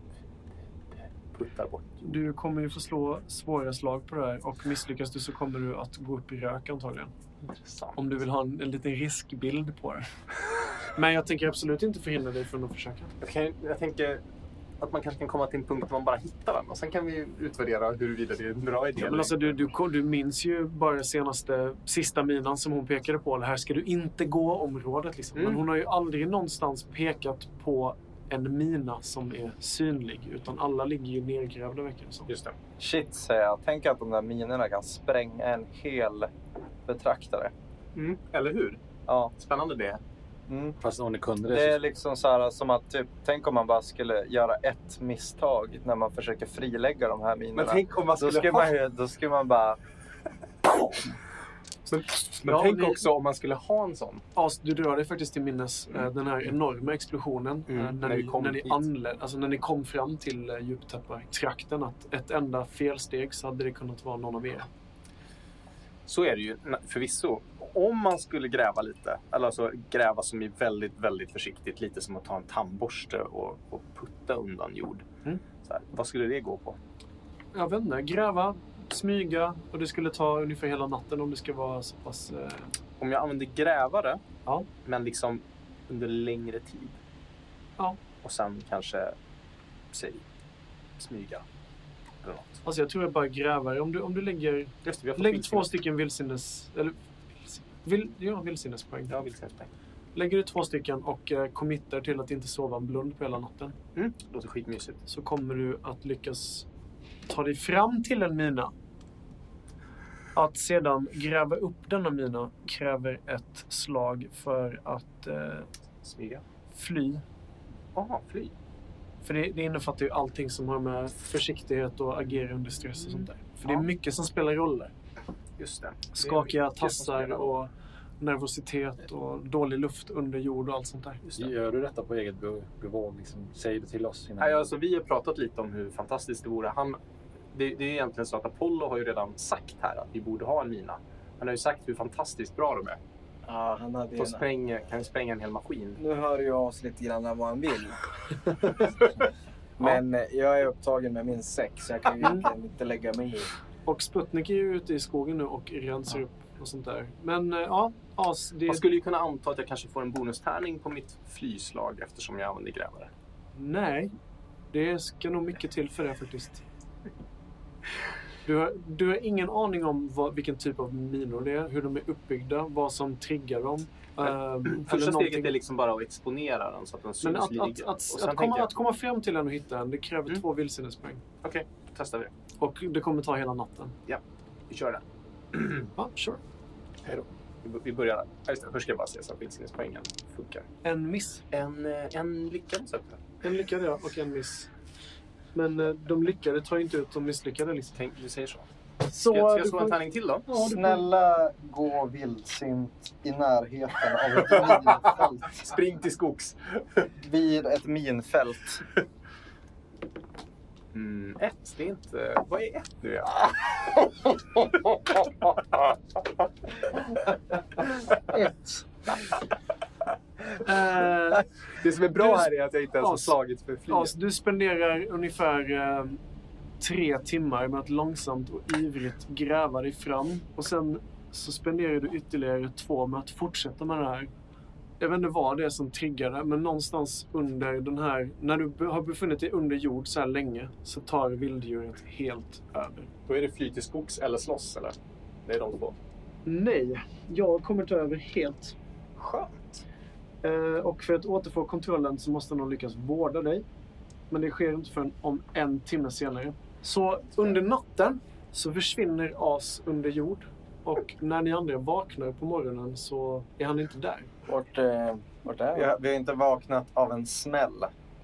[SPEAKER 5] puttar bort.
[SPEAKER 6] Du kommer ju få slå svåra slag på det här och misslyckas du så kommer du att gå upp i rök antagligen.
[SPEAKER 5] Intressant.
[SPEAKER 6] Om du vill ha en, en liten riskbild på det. Men jag tänker absolut inte förhindra dig från att försöka.
[SPEAKER 5] Jag, kan, jag tänker att man kanske kan komma till en punkt där man bara hittar den och sen kan vi utvärdera huruvida det är en bra idé.
[SPEAKER 6] Ja,
[SPEAKER 5] eller
[SPEAKER 6] men alltså,
[SPEAKER 5] inte.
[SPEAKER 6] du, du, du minns ju bara senaste sista minan som hon pekade på. Det här ska du inte gå området. Liksom.
[SPEAKER 5] Mm.
[SPEAKER 6] Men hon har ju aldrig någonstans pekat på en mina som är synlig. Utan alla ligger ju nergrävda verkar det som.
[SPEAKER 5] Just det.
[SPEAKER 4] Shit, säger jag. Tänk att de där minerna kan spränga en hel betraktare.
[SPEAKER 5] Mm. Eller hur?
[SPEAKER 4] Ja.
[SPEAKER 5] Spännande det.
[SPEAKER 4] Mm.
[SPEAKER 3] Fast om ni kunde det,
[SPEAKER 4] Det är
[SPEAKER 3] så...
[SPEAKER 4] liksom så här som att typ, tänk om man bara skulle göra ett misstag när man försöker frilägga de här minerna.
[SPEAKER 5] Men tänk om man
[SPEAKER 4] då,
[SPEAKER 5] skulle
[SPEAKER 4] skulle
[SPEAKER 5] ha...
[SPEAKER 4] man, ju- då skulle man bara...
[SPEAKER 5] Men, men
[SPEAKER 6] Ja,
[SPEAKER 5] tänk
[SPEAKER 6] men-
[SPEAKER 5] också om man skulle ha en sån.
[SPEAKER 6] Ja, så Alltså, du drar dig faktiskt till minnes eh, den här enorma explosionen
[SPEAKER 5] Mm,
[SPEAKER 6] eh, när,
[SPEAKER 5] när vi
[SPEAKER 6] ni,
[SPEAKER 5] kom
[SPEAKER 6] när, ni
[SPEAKER 5] hit.
[SPEAKER 6] anled, alltså när ni kom fram till eh, djuptappartrakten. Att ett enda felsteg så hade det kunnat vara någon av er.
[SPEAKER 5] Så är det ju na- förvisso. Om man skulle gräva lite, eller alltså gräva som är väldigt, väldigt försiktigt, lite som att ta en tandborste och, och putta undan jord.
[SPEAKER 6] Mm.
[SPEAKER 5] Så här, vad skulle det gå på?
[SPEAKER 6] Jag vet inte, gräva, smyga och det skulle ta ungefär hela natten om det ska vara så pass... Eh,
[SPEAKER 5] Om jag använder grävare,
[SPEAKER 6] Ja.
[SPEAKER 5] men liksom under längre tid.
[SPEAKER 6] Ja.
[SPEAKER 5] Och sen kanske, säg, smyga. Eller något.
[SPEAKER 6] alltså jag tror jag bara grävar. Om du, om du lägger...
[SPEAKER 5] Just det, vi har fått
[SPEAKER 6] Lägg
[SPEAKER 5] vildsvin.
[SPEAKER 6] två stycken vilsinnes... Eller, vilsin- vill, ja, vilsinnespoäng.
[SPEAKER 5] Ja, vildsvinspoäng.
[SPEAKER 6] Lägger du två stycken och eh, committar till att inte sova en blund på hela natten.
[SPEAKER 5] Mm. Låter skitmysigt.
[SPEAKER 6] så kommer du att lyckas ta dig fram till en mina. Att sedan gräva upp denna mina kräver ett slag för att eh,
[SPEAKER 5] Smyga.
[SPEAKER 6] fly.
[SPEAKER 5] Jaha, fly.
[SPEAKER 6] För det, det innefattar ju allting som har med försiktighet och agera under stress och sånt där. För det
[SPEAKER 5] Ja.
[SPEAKER 6] är mycket som spelar roll där.
[SPEAKER 5] Just det.
[SPEAKER 6] Skakiga
[SPEAKER 5] mycket som spelar
[SPEAKER 6] tassar
[SPEAKER 5] roll.
[SPEAKER 6] och nervositet och dålig luft under jord och allt sånt där.
[SPEAKER 5] Just det.
[SPEAKER 3] Gör du detta på eget be- bevåg? Liksom, säg det till oss innan.
[SPEAKER 5] Nej, alltså, vi har pratat lite om hur fantastiskt det vore. Han, det, det är egentligen så att Apollo har ju redan sagt här att vi borde ha en mina. Han har ju sagt hur fantastiskt bra de är.
[SPEAKER 1] Ja, han hade ju
[SPEAKER 5] De
[SPEAKER 1] en...
[SPEAKER 5] spränger, kan spränga en hel maskin.
[SPEAKER 1] Nu hör ju av sig lite grann vad han vill. Men eh, jag är upptagen med min säck så jag kan ju
[SPEAKER 6] Mm.
[SPEAKER 1] egentligen inte lägga mig i.
[SPEAKER 6] Och Sputnik är ju ute i skogen nu och rensar upp och sånt där. Men eh, ja, as, det
[SPEAKER 5] Man skulle ju kunna anta att jag kanske får en bonustärning på mitt flyslag eftersom jag använder grävare.
[SPEAKER 6] Nej, det ska nog mycket till för det faktiskt. Du har, du har ingen aning om vad, vilken typ av minor det är, hur de är uppbyggda, vad som triggar dem. ehm, eller
[SPEAKER 5] Första steget
[SPEAKER 6] någonting.
[SPEAKER 5] är liksom bara att exponera den så att den syns
[SPEAKER 6] Men att,
[SPEAKER 5] lite.
[SPEAKER 6] att, att,
[SPEAKER 5] sen
[SPEAKER 6] att, komma,
[SPEAKER 5] tänker jag-
[SPEAKER 6] att komma fram till den och hitta den, det kräver
[SPEAKER 5] Mm.
[SPEAKER 6] två vildsinnespoäng.
[SPEAKER 5] Okej, då testar vi.
[SPEAKER 6] Och det kommer ta hela natten.
[SPEAKER 5] Vi kör det.
[SPEAKER 6] Ja, sure.
[SPEAKER 5] Vi b- Vi börjar där. Ja, just det. Först ska jag bara se så att vildsinnespoängen funkar.
[SPEAKER 6] En miss.
[SPEAKER 5] En, eh, en lyckad sökte.
[SPEAKER 6] En lyckad ja, och en miss. Men eh, de lyckade tar ju inte ut de misslyckade. Liksom.
[SPEAKER 5] Tänk, vi säger så.
[SPEAKER 6] Så
[SPEAKER 5] Ska jag, ska
[SPEAKER 6] du
[SPEAKER 5] jag slå
[SPEAKER 6] får-
[SPEAKER 5] en tärning till då?
[SPEAKER 6] Ja, du får-
[SPEAKER 4] Snälla gå vildsint i närheten av ett minfält.
[SPEAKER 5] Spring till skogs.
[SPEAKER 4] Vid ett minfält.
[SPEAKER 5] Mm, ett, det är inte... Vad är ett nu? Ja?
[SPEAKER 6] Ett. Eh,
[SPEAKER 5] Det som är
[SPEAKER 6] Du-
[SPEAKER 5] bra här är att jag inte ens har
[SPEAKER 6] As.
[SPEAKER 5] slagit för flyet.
[SPEAKER 6] ja, så du spenderar ungefär eh, tre timmar med att långsamt och ivrigt gräva dig fram. Och sen så spenderar du ytterligare två med att fortsätta med det här. Jag vet inte vad det är som triggade, men någonstans under den här... När du be- har befunnit dig under jord så här länge så tar vilddjuret helt över.
[SPEAKER 5] Då är det fly till skogs eller slåss, eller? Det är de två.
[SPEAKER 6] Nej, jag har kommit över helt.
[SPEAKER 5] Skönt.
[SPEAKER 6] Eh, Och för att återfå kontrollen så måste någon lyckas vårda dig. Men det sker inte förrän om en timme senare. Så under natten så försvinner As under jord. Och när ni andra vaknar på morgonen så är han inte där.
[SPEAKER 1] Vart, eh, vart är
[SPEAKER 4] Vi
[SPEAKER 1] jag?
[SPEAKER 4] har, vi har inte vaknat av en smäll.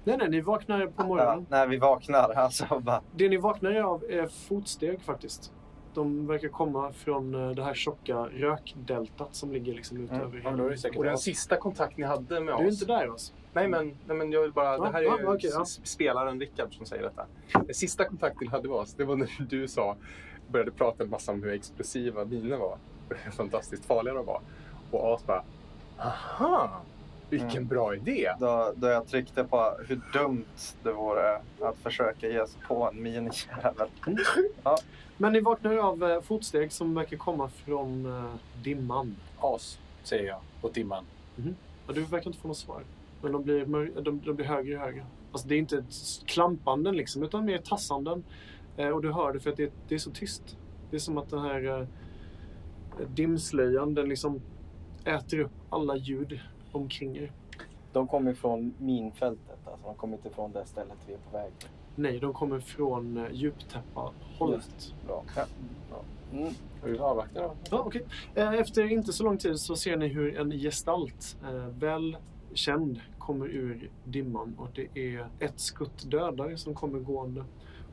[SPEAKER 6] Nej, nej, ni vaknar på
[SPEAKER 4] Ja,
[SPEAKER 6] morgonen.
[SPEAKER 4] när vi vaknar. Alltså, bara,
[SPEAKER 6] Det ni vaknar av är fotsteg faktiskt. De verkar komma från eh, det här tjocka rökdeltat som ligger liksom ut
[SPEAKER 4] Mm.
[SPEAKER 6] över
[SPEAKER 3] Ja, men då är det säkert
[SPEAKER 5] Och den
[SPEAKER 3] oss.
[SPEAKER 5] sista kontakt ni hade med
[SPEAKER 6] Du är
[SPEAKER 5] oss?
[SPEAKER 6] inte där alltså?
[SPEAKER 5] Nej, men, nej, men jag vill bara...
[SPEAKER 6] Ja,
[SPEAKER 5] det här är ju
[SPEAKER 6] ja, okej, ja.
[SPEAKER 5] s- spelaren Rickard som säger detta. Den sista kontakten ni hade med oss, det var när du sa... Började prata en massa om hur explosiva miner var. och Hur fantastiskt farliga de var. Och As bara... Aha! Vilken
[SPEAKER 4] Mm.
[SPEAKER 5] bra idé!
[SPEAKER 4] då, då jag tryckte på hur dumt det vore att försöka ge sig på en minjävel.
[SPEAKER 6] Men ni vaknar av eh, fotsteg som verkar komma från eh, dimman.
[SPEAKER 3] As, säger jag. Och dimman.
[SPEAKER 6] Ja, du verkar inte få något svar. Men de blir, mör- de, de blir högre och högre. Alltså det är inte ett s- klampanden liksom, utan mer tassanden. Eh, och du hör det för att det, det är så tyst. Det är som att den här eh, dimslöjan, den liksom äter upp alla ljud omkring er.
[SPEAKER 1] De kommer från minfältet. Alltså, de kommer inte från det stället vi är på väg. till.
[SPEAKER 6] Nej, de kommer från eh, djuptäppa-hållet.
[SPEAKER 1] Bra. Mm.
[SPEAKER 3] Vi avvaktar då.
[SPEAKER 6] Ja, okej. Eh, Efter inte så lång tid så ser ni hur en gestalt, eh, väl känd, kommer ur dimman. Och det är ett skutt dödare som kommer gående.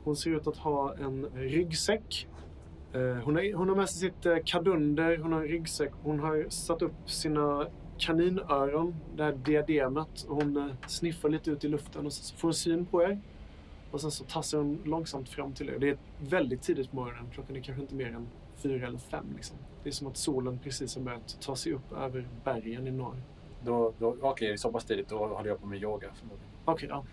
[SPEAKER 6] Hon ser ut att ha en ryggsäck. Eh, Hon har, hon har med sig sitt eh, kadunder, hon har en ryggsäck. Hon har satt upp sina kaninöron, det här diademet. Och Hon eh, sniffar lite ut i luften och så får hon syn på er. Och sen så tassar hon långsamt fram till er. Det är väldigt tidigt på morgonen. Klockan är kanske inte mer än fyra eller fem. Liksom. Det är som att solen precis har börjat ta sig upp över bergen i norr.
[SPEAKER 3] då, då Okej, så pass tidigt. Då håller jag på med yoga förmodligen.
[SPEAKER 6] Okej, ja.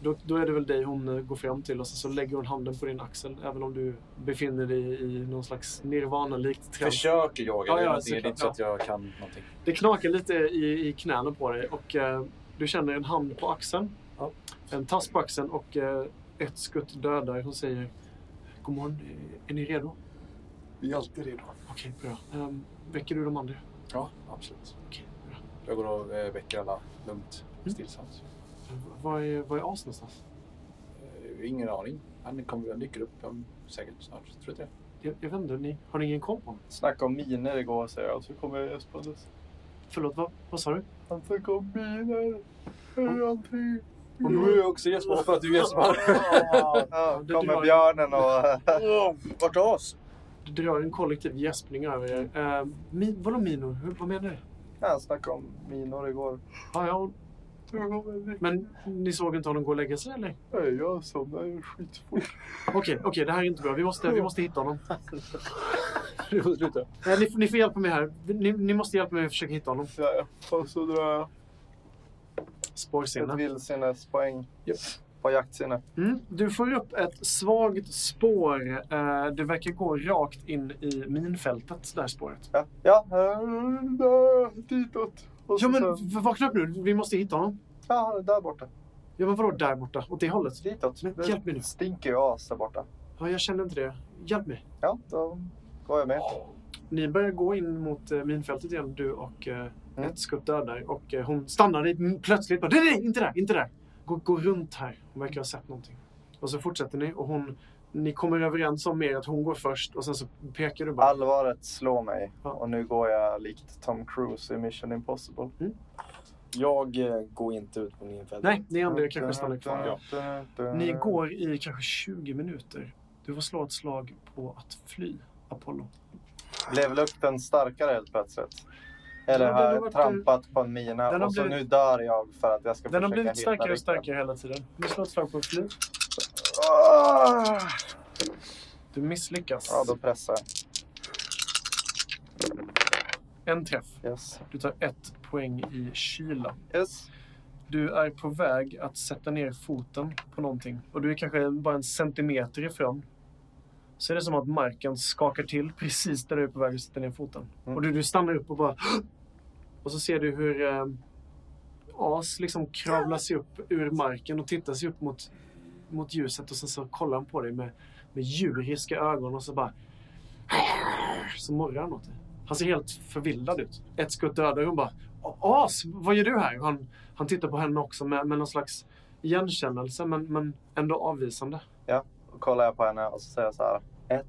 [SPEAKER 6] Då, då är det väl dig hon eh, går fram till och så, så lägger hon handen på din axel. Även om du befinner dig i någon slags nirvana-likt trans.
[SPEAKER 3] Försöker yoga.
[SPEAKER 6] Ja,
[SPEAKER 3] det, är
[SPEAKER 6] ja,
[SPEAKER 3] någonting- det är
[SPEAKER 6] såklart,
[SPEAKER 3] inte så att jag kan någonting.
[SPEAKER 6] Det knakar lite i, i knäna på dig och eh, du känner en hand på axeln.
[SPEAKER 3] Ja.
[SPEAKER 6] En tass på axeln och eh, ett skutt dödare. Hon säger God morgon, eh, är ni redo?
[SPEAKER 3] Vi är alltid redo.
[SPEAKER 6] Okej, bra. Ehm, väcker du de andra?
[SPEAKER 3] Ja, absolut.
[SPEAKER 6] Okej, bra.
[SPEAKER 3] Jag går och eh, väcker alla lugnt och
[SPEAKER 6] Mm.
[SPEAKER 3] stillsamt.
[SPEAKER 6] V- Var är, var är As någonstans?
[SPEAKER 3] Eh, ingen aning. Han kommer han dyker upp om, säkert snart. Tror jag det.
[SPEAKER 6] Jag, jag vet inte, ni, har ni ingen koll på honom?
[SPEAKER 4] Snacka om miner igår, säger jag. Så kommer jag gäspandes.
[SPEAKER 6] Förlåt, vad, vad sa du?
[SPEAKER 4] Han snackade om miner. Hur typ? allting...
[SPEAKER 3] Mm.
[SPEAKER 6] Om du-
[SPEAKER 3] är Eh, också gäspar för att du gäspar.
[SPEAKER 4] Ja,
[SPEAKER 6] det
[SPEAKER 4] kommer
[SPEAKER 6] drar-
[SPEAKER 4] björnen och...
[SPEAKER 1] Vart är oss?
[SPEAKER 6] Det drar en kollektiv gäspning över er. Ehm, mi, vadå minor? Hur, vad menar du?
[SPEAKER 4] Ja, Han snackade om minor igår.
[SPEAKER 6] Ja, ja, hon- men ni såg inte honom gå och lägga sig eller?
[SPEAKER 4] Nej, jag somnade ju skitfort.
[SPEAKER 6] Okej, okej, det här är inte bra. Vi måste, vi måste hitta honom.
[SPEAKER 3] Du får sluta.
[SPEAKER 6] Eh, ni, får- ni får hjälpa mig här. Ni, ni måste hjälpa mig att försöka hitta honom.
[SPEAKER 4] Ja, och så drar jag ett
[SPEAKER 6] Spårsinne.
[SPEAKER 4] vildsinnespoäng på jaktsinne.
[SPEAKER 6] Mm, du får upp ett svagt spår. Eh, det verkar gå rakt in i minfältet, det här spåret.
[SPEAKER 4] Ja, ja. eh, ditåt. Och
[SPEAKER 6] Ja
[SPEAKER 4] så-
[SPEAKER 6] men v- vakna upp nu, vi måste hitta honom.
[SPEAKER 4] Ja, han är där borta.
[SPEAKER 6] Ja men vadå där borta, åt det hållet?
[SPEAKER 4] Ditåt.
[SPEAKER 6] Men hjälp mig nu.
[SPEAKER 4] Det stinker ju as där borta.
[SPEAKER 6] Ja jag känner inte det. Hjälp mig.
[SPEAKER 4] Ja, då går jag med.
[SPEAKER 6] Ni börjar gå in mot eh, minfältet igen du och eh,
[SPEAKER 4] Mm.
[SPEAKER 6] ett skutt dödar. Och eh, hon stannar i- mm, plötsligt. Bara, nej nej, inte där, inte där. Gå, gå runt här. Hon verkar ha sett någonting. Och så fortsätter ni och hon, ni kommer överens om mer att hon går först och sen så pekar du bara.
[SPEAKER 4] Allvaret slår mig
[SPEAKER 6] Ja.
[SPEAKER 4] och nu går jag likt Tom Cruise i Mission Impossible.
[SPEAKER 1] Jag eh, går inte ut på min fälla.
[SPEAKER 6] Nej, ni
[SPEAKER 4] Mm.
[SPEAKER 6] andra kanske stannar kvar. liksom. Ni går i kanske 20 minuter. Du får slå ett slag på att fly, Apollo.
[SPEAKER 4] Blev lukten starkare helt plötsligt? Eller
[SPEAKER 6] Ja, den
[SPEAKER 4] har
[SPEAKER 6] har
[SPEAKER 4] jag
[SPEAKER 6] varit-
[SPEAKER 4] trampat på en
[SPEAKER 6] den
[SPEAKER 4] mina
[SPEAKER 6] har
[SPEAKER 4] och så
[SPEAKER 6] blivit-
[SPEAKER 4] nu dör jag för att jag ska
[SPEAKER 6] Den har
[SPEAKER 4] försöka
[SPEAKER 6] blivit
[SPEAKER 4] hitta
[SPEAKER 6] starkare och
[SPEAKER 4] rikten.
[SPEAKER 6] starkare hela tiden. Du slår ett slag på att fly.
[SPEAKER 4] Ah!
[SPEAKER 6] Du misslyckas.
[SPEAKER 4] Ja, då pressar
[SPEAKER 6] En träff.
[SPEAKER 4] jag. Yes.
[SPEAKER 6] Du tar ett poäng i kyla.
[SPEAKER 4] yes.
[SPEAKER 6] Du är på väg att sätta ner foten på någonting och du är kanske bara en centimeter ifrån. Så är det som att marken skakar till precis där du är på väg att sätta ner foten.
[SPEAKER 4] Mm.
[SPEAKER 6] Och du, du stannar upp och bara... Och så ser du hur eh, As liksom kravlar sig upp ur marken och tittar sig upp mot, mot ljuset och sen så kollar han på dig med, med djuriska ögon och så bara... Så morrar han åt dig. Han ser helt förvillad ut. Ett skutt dödar och hon bara... As, vad gör du här? Och Han, han tittar på henne också med, med någon slags igenkännelse men, men ändå avvisande.
[SPEAKER 4] Då kollar jag på henne och så säger jag så här. Ett,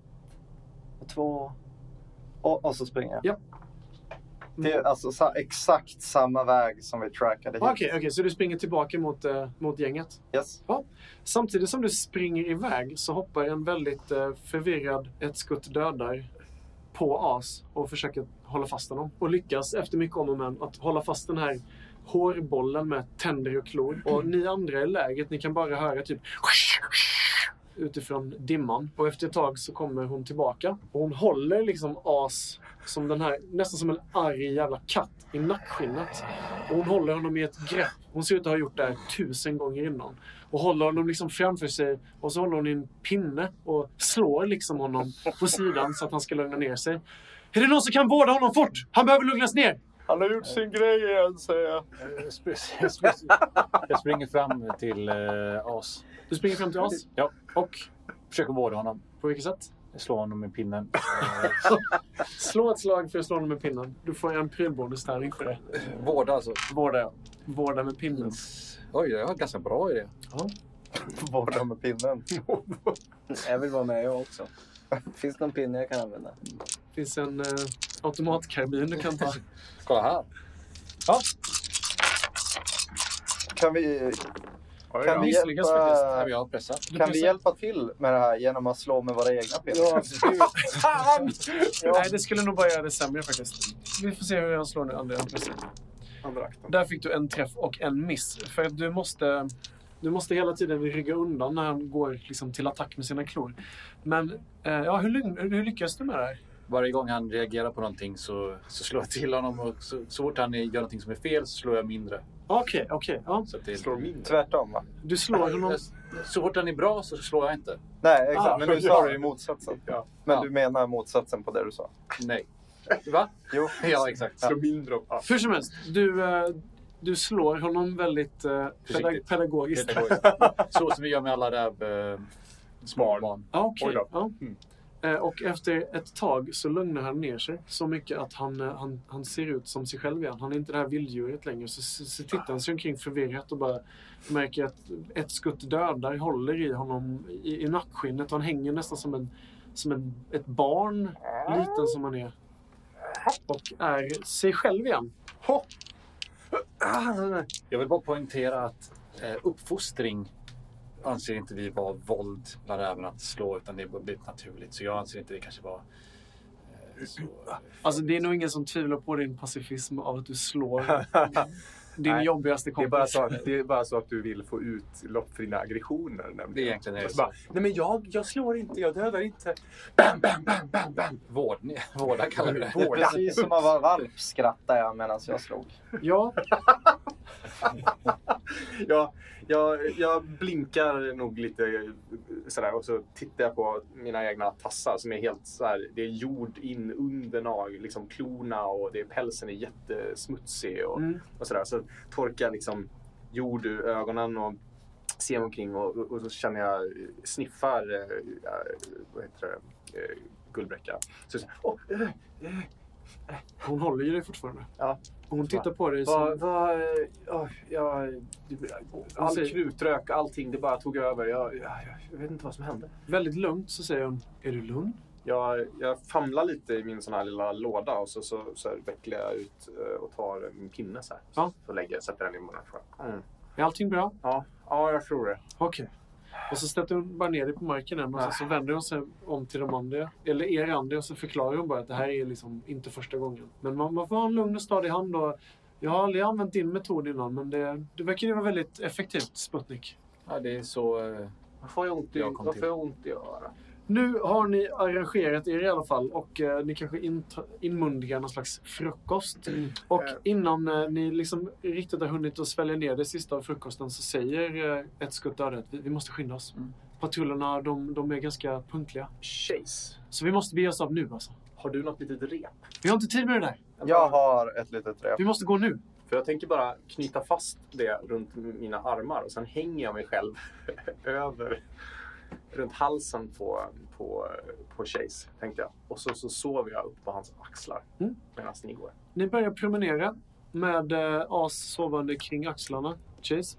[SPEAKER 4] och två och, och så springer jag.
[SPEAKER 6] Ja.
[SPEAKER 4] Det är alltså sa, exakt samma väg som vi trackade hit.
[SPEAKER 6] Ah, Okej, okej, så du springer tillbaka mot, eh, mot gänget.
[SPEAKER 4] Yes.
[SPEAKER 6] Samtidigt som du springer iväg så hoppar en väldigt eh, förvirrad ett skutt dödar på As och försöker hålla fast honom. Och lyckas efter mycket om och men att hålla fast den här hårbollen med tänder och klor. Och ni andra i lägret, ni kan bara höra typ utifrån dimman. Och efter ett tag så kommer hon tillbaka. Och hon håller liksom As som den här, nästan som en arg jävla katt i nackskinnet. Och hon håller honom i ett grepp. Hon ser ut att ha gjort det här tusen gånger innan. Och håller honom liksom framför sig och så håller hon i en pinne och slår liksom honom på sidan så att han ska lugna ner sig. Är det någon som kan vårda honom fort? Han behöver lugnas ner!
[SPEAKER 4] Han har gjort sin grej igen säger jag.
[SPEAKER 3] Eh, sp- sp- sp- Jag springer fram till eh, As
[SPEAKER 6] Du springer fram till oss.
[SPEAKER 3] ja, och försöker vårda honom.
[SPEAKER 6] På vilket sätt?
[SPEAKER 3] Jag slår honom med pinnen. Eh,
[SPEAKER 6] Slå ett slag för att slå honom med pinnen. Du får en prylbonustärning för det.
[SPEAKER 3] Eh, Vårda alltså.
[SPEAKER 6] Vårda, ja. Vårda med pinnen.
[SPEAKER 3] Oj, jag var ganska bra i det.
[SPEAKER 4] Borta med pinnen.
[SPEAKER 1] Jag vill vara med jag också. Finns det någon pinne jag kan använda?
[SPEAKER 6] finns en eh, automatkarbin du kan ta.
[SPEAKER 3] Kolla här.
[SPEAKER 4] Kan vi, kan vi
[SPEAKER 6] Misslyckas
[SPEAKER 3] Här
[SPEAKER 4] hjälpa...
[SPEAKER 3] har jag pressat.
[SPEAKER 6] Du
[SPEAKER 4] Kan vi
[SPEAKER 6] pressar-
[SPEAKER 4] hjälpa till med det här genom att slå med våra egna pinnar?
[SPEAKER 6] Nej, det skulle nog bara göra det sämre faktiskt. Vi får se hur han slår nu, Andrea.
[SPEAKER 5] Andra akten.
[SPEAKER 6] Där fick du en träff och en miss. För att du måste, du måste hela tiden rygga undan när han går liksom, till attack med sina klor. Men eh, ja, hur, lugn- hur lyckas du med det här?
[SPEAKER 3] Varje gång han reagerar på någonting så, så slår jag till honom. Och så, så fort han gör någonting som är fel så slår jag mindre.
[SPEAKER 6] Okej, okej. ja.
[SPEAKER 3] Så, att det,
[SPEAKER 5] Slår min.
[SPEAKER 4] Tvärtom va?
[SPEAKER 6] Du slår honom.
[SPEAKER 3] så fort han är bra så slår jag inte.
[SPEAKER 4] Nej, exakt.
[SPEAKER 6] Ah,
[SPEAKER 4] men nu sa du ju motsatsen.
[SPEAKER 5] Ja.
[SPEAKER 4] Men
[SPEAKER 3] Ja.
[SPEAKER 4] du menar motsatsen på det du sa?
[SPEAKER 3] Nej. Va?
[SPEAKER 4] Jo.
[SPEAKER 3] Ja, exakt.
[SPEAKER 5] Slår mindre om allt.
[SPEAKER 6] Hur som helst, du, eh, du slår honom väldigt eh, pedag-
[SPEAKER 3] Försiktigt.
[SPEAKER 6] pedagogiskt.
[SPEAKER 3] Pedagogiskt. Så som vi gör med alla räv... Eh, små
[SPEAKER 5] Barn.
[SPEAKER 3] barn.
[SPEAKER 6] Ja, okej.
[SPEAKER 5] Oj då. Mm.
[SPEAKER 6] Ja. Eh, Och efter ett tag så lugnar han ner sig så mycket att han, eh, han, han ser ut som sig själv igen. Han är inte det här vilddjuret längre. Så, så, så tittar han sig omkring förvirrat och bara märker att ett skutt dödar håller i honom i, i nackskinnet. Han hänger nästan som, en, som en, ett barn, liten som han är. Och är sig själv igen.
[SPEAKER 3] Jag vill bara poängtera att eh, uppfostring anser inte vi vara våld bland räven att slå utan det har blivit naturligt. Så jag anser inte det kanske var... Eh, så,
[SPEAKER 6] Alltså det är nog ingen som tvivlar på din pacifism av att du slår din
[SPEAKER 5] Nej,
[SPEAKER 6] jobbigaste
[SPEAKER 5] Det är,
[SPEAKER 6] kompis.
[SPEAKER 5] bara så att, det är bara så att du vill få ut lopp för dina aggressioner. Nämligen.
[SPEAKER 3] det är egentligen är det
[SPEAKER 5] Bara,
[SPEAKER 3] så.
[SPEAKER 5] Nej men jag, jag slår inte, jag dödar inte. Bam, bam, bam, bam, bam.
[SPEAKER 3] Vård, vårda kallar vi det.
[SPEAKER 4] Det är precis som att vara valp skrattade jag medan jag slog.
[SPEAKER 6] Ja,
[SPEAKER 5] Jag, jag, jag blinkar nog lite eh, sådär och så tittar jag på mina egna tassar som är helt såhär. Det är jord in under nag, liksom klorna och det, pälsen är jättesmutsig och,
[SPEAKER 6] Mm.
[SPEAKER 5] och sådär. Så torkar jag liksom jord ur ögonen och ser mig omkring och, och, och så känner jag sniffar, eh, eh, vad heter det, eh, guldbräcka. Så, så, åh, eh,
[SPEAKER 6] Hon håller ju dig fortfarande.
[SPEAKER 5] Ja.
[SPEAKER 6] Och Hon tittar på dig
[SPEAKER 5] Vad,
[SPEAKER 6] som...
[SPEAKER 5] vad, ja, jag, all krutrök, allting, det bara tog över. Jag, jag, jag vet inte vad som hände.
[SPEAKER 6] Väldigt lugnt så säger hon. Är du lugn?
[SPEAKER 5] Jag, jag famlar lite i min sån här lilla låda och så, så, så här vecklar jag ut eh, och tar min pinne så här.
[SPEAKER 6] Ja.
[SPEAKER 5] Så lägger, jag- sätter den i munnen. tror jag. Mm.
[SPEAKER 6] Är allting bra?
[SPEAKER 5] Ja. ja, jag tror det.
[SPEAKER 6] Okej. Och så stöter hon bara ner dig på marken än och sen så vänder hon sig om till de andra, eller er andra och så förklarar hon bara att det här är liksom inte första gången. Men man, man får ha en lugn och stadig hand och jag har aldrig använt din metod innan men det, det verkar ju vara väldigt effektivt Sputnik.
[SPEAKER 3] Ja, det är så... eh,
[SPEAKER 5] Varför har jag ont i,
[SPEAKER 3] Jag kom
[SPEAKER 5] varför
[SPEAKER 3] till.
[SPEAKER 5] har jag ont i örat?
[SPEAKER 6] Nu har ni arrangerat er i alla fall och eh, ni kanske int- inmundigar någon slags frukost. Och
[SPEAKER 5] Eh.
[SPEAKER 6] innan eh, ni liksom riktigt har hunnit att svälja ner det sista av frukosten så säger eh, ett skutt döda att vi, vi måste skynda oss.
[SPEAKER 3] Mm.
[SPEAKER 6] Patrullerna de, de är ganska punktliga.
[SPEAKER 5] Chase.
[SPEAKER 6] Så vi måste bege oss av nu alltså.
[SPEAKER 5] Har du något litet rep?
[SPEAKER 6] Vi har inte tid med det där.
[SPEAKER 4] Jag har ett litet rep.
[SPEAKER 6] Vi måste gå nu.
[SPEAKER 5] För jag tänker bara knyta fast det runt mina armar och sen hänger jag mig själv över runt halsen på, på, på Chase, tänkte jag. Och så, så sover jag upp på hans axlar
[SPEAKER 6] Mm.
[SPEAKER 5] medan ni går.
[SPEAKER 6] Ni börjar promenera med eh, As sovande kring axlarna, Chase.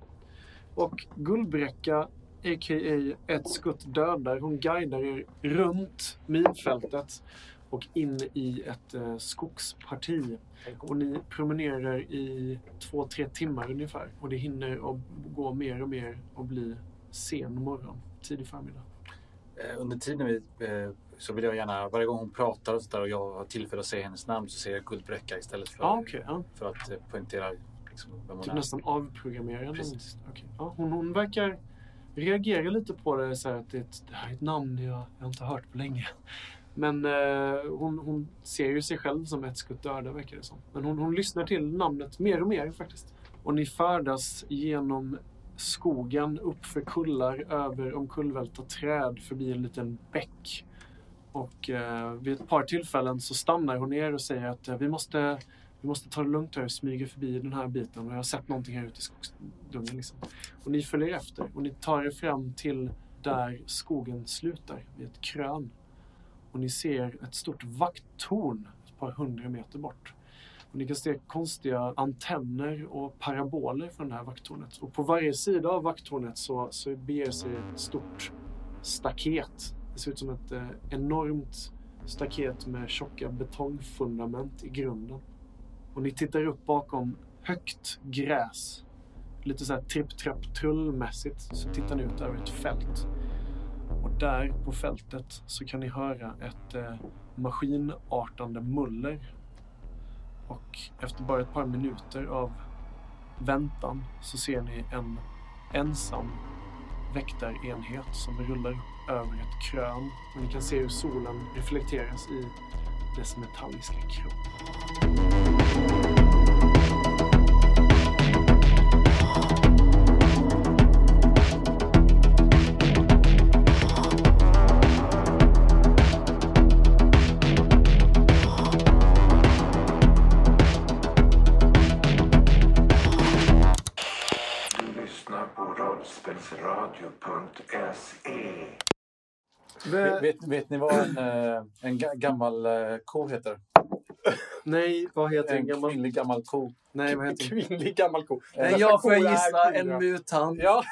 [SPEAKER 6] Och Guldbräcka, a.k.a. ett skutt dödar, hon guidar er runt minfältet och in i ett eh, skogsparti. Och ni promenerar i två, tre timmar ungefär. Och det hinner att gå mer och mer och bli sen morgon, tidig förmiddag.
[SPEAKER 3] Eh, Under tiden vi, eh, så vill jag gärna, varje gång hon pratar och, så där, och jag har tillfälle att säga hennes namn så säger jag Guldbräcka istället för,
[SPEAKER 6] Ja, ah, okej. ja.
[SPEAKER 3] för att eh, poängtera liksom, vem hon
[SPEAKER 6] Typ
[SPEAKER 3] är.
[SPEAKER 6] nästan avprogrammerad.
[SPEAKER 3] Precis.
[SPEAKER 6] Okej. Ja, hon, hon verkar reagera lite på det så här att det, är ett- det här är ett namn jag, jag inte har hört på länge. Men eh, hon, hon ser ju sig själv som ett skutt döda verkar det som. Men hon, hon lyssnar till namnet mer och mer faktiskt. Och ni färdas genom skogen, uppför kullar, över omkullvälta träd, förbi en liten bäck. Och eh, vid ett par tillfällen så stannar hon ner och säger att eh, vi måste vi måste ta det lugnt här och smyga förbi den här biten. Och jag har sett någonting här ute i skogsdungen. Liksom. Och ni följer efter och ni tar er fram till där skogen slutar, vid ett krön. Och ni ser ett stort vakttorn ett par hundra meter bort. Och ni kan se konstiga antenner och paraboler från det här vakttornet. Och på varje sida av vakttornet så, så beger sig ett stort staket. Det ser ut som ett eh, enormt staket med tjocka betongfundament i grunden. Och ni tittar upp bakom högt gräs. Lite så här tripp-trapp-trullmässigt så tittar ni ut över ett fält. Och där på fältet så kan ni höra ett eh, maskinartande muller. Och efter bara ett par minuter av väntan så ser ni en ensam väktarenhet som rullar upp över ett krön. Och ni kan se hur solen reflekteras i dess metalliska krok.
[SPEAKER 2] Du lyssnar på rollspelsradio.se.
[SPEAKER 3] Vet, vet, vet ni vad en, eh, en ga- gammal eh, ko heter?
[SPEAKER 6] Nej, vad heter
[SPEAKER 3] En
[SPEAKER 6] en gammal...
[SPEAKER 3] kvinnlig gammal ko.
[SPEAKER 6] Nej, vad
[SPEAKER 5] En
[SPEAKER 6] heter
[SPEAKER 5] kvinnlig gammal ko.
[SPEAKER 3] Eh,
[SPEAKER 5] jag får gissa, en
[SPEAKER 6] mutant.
[SPEAKER 3] Ja.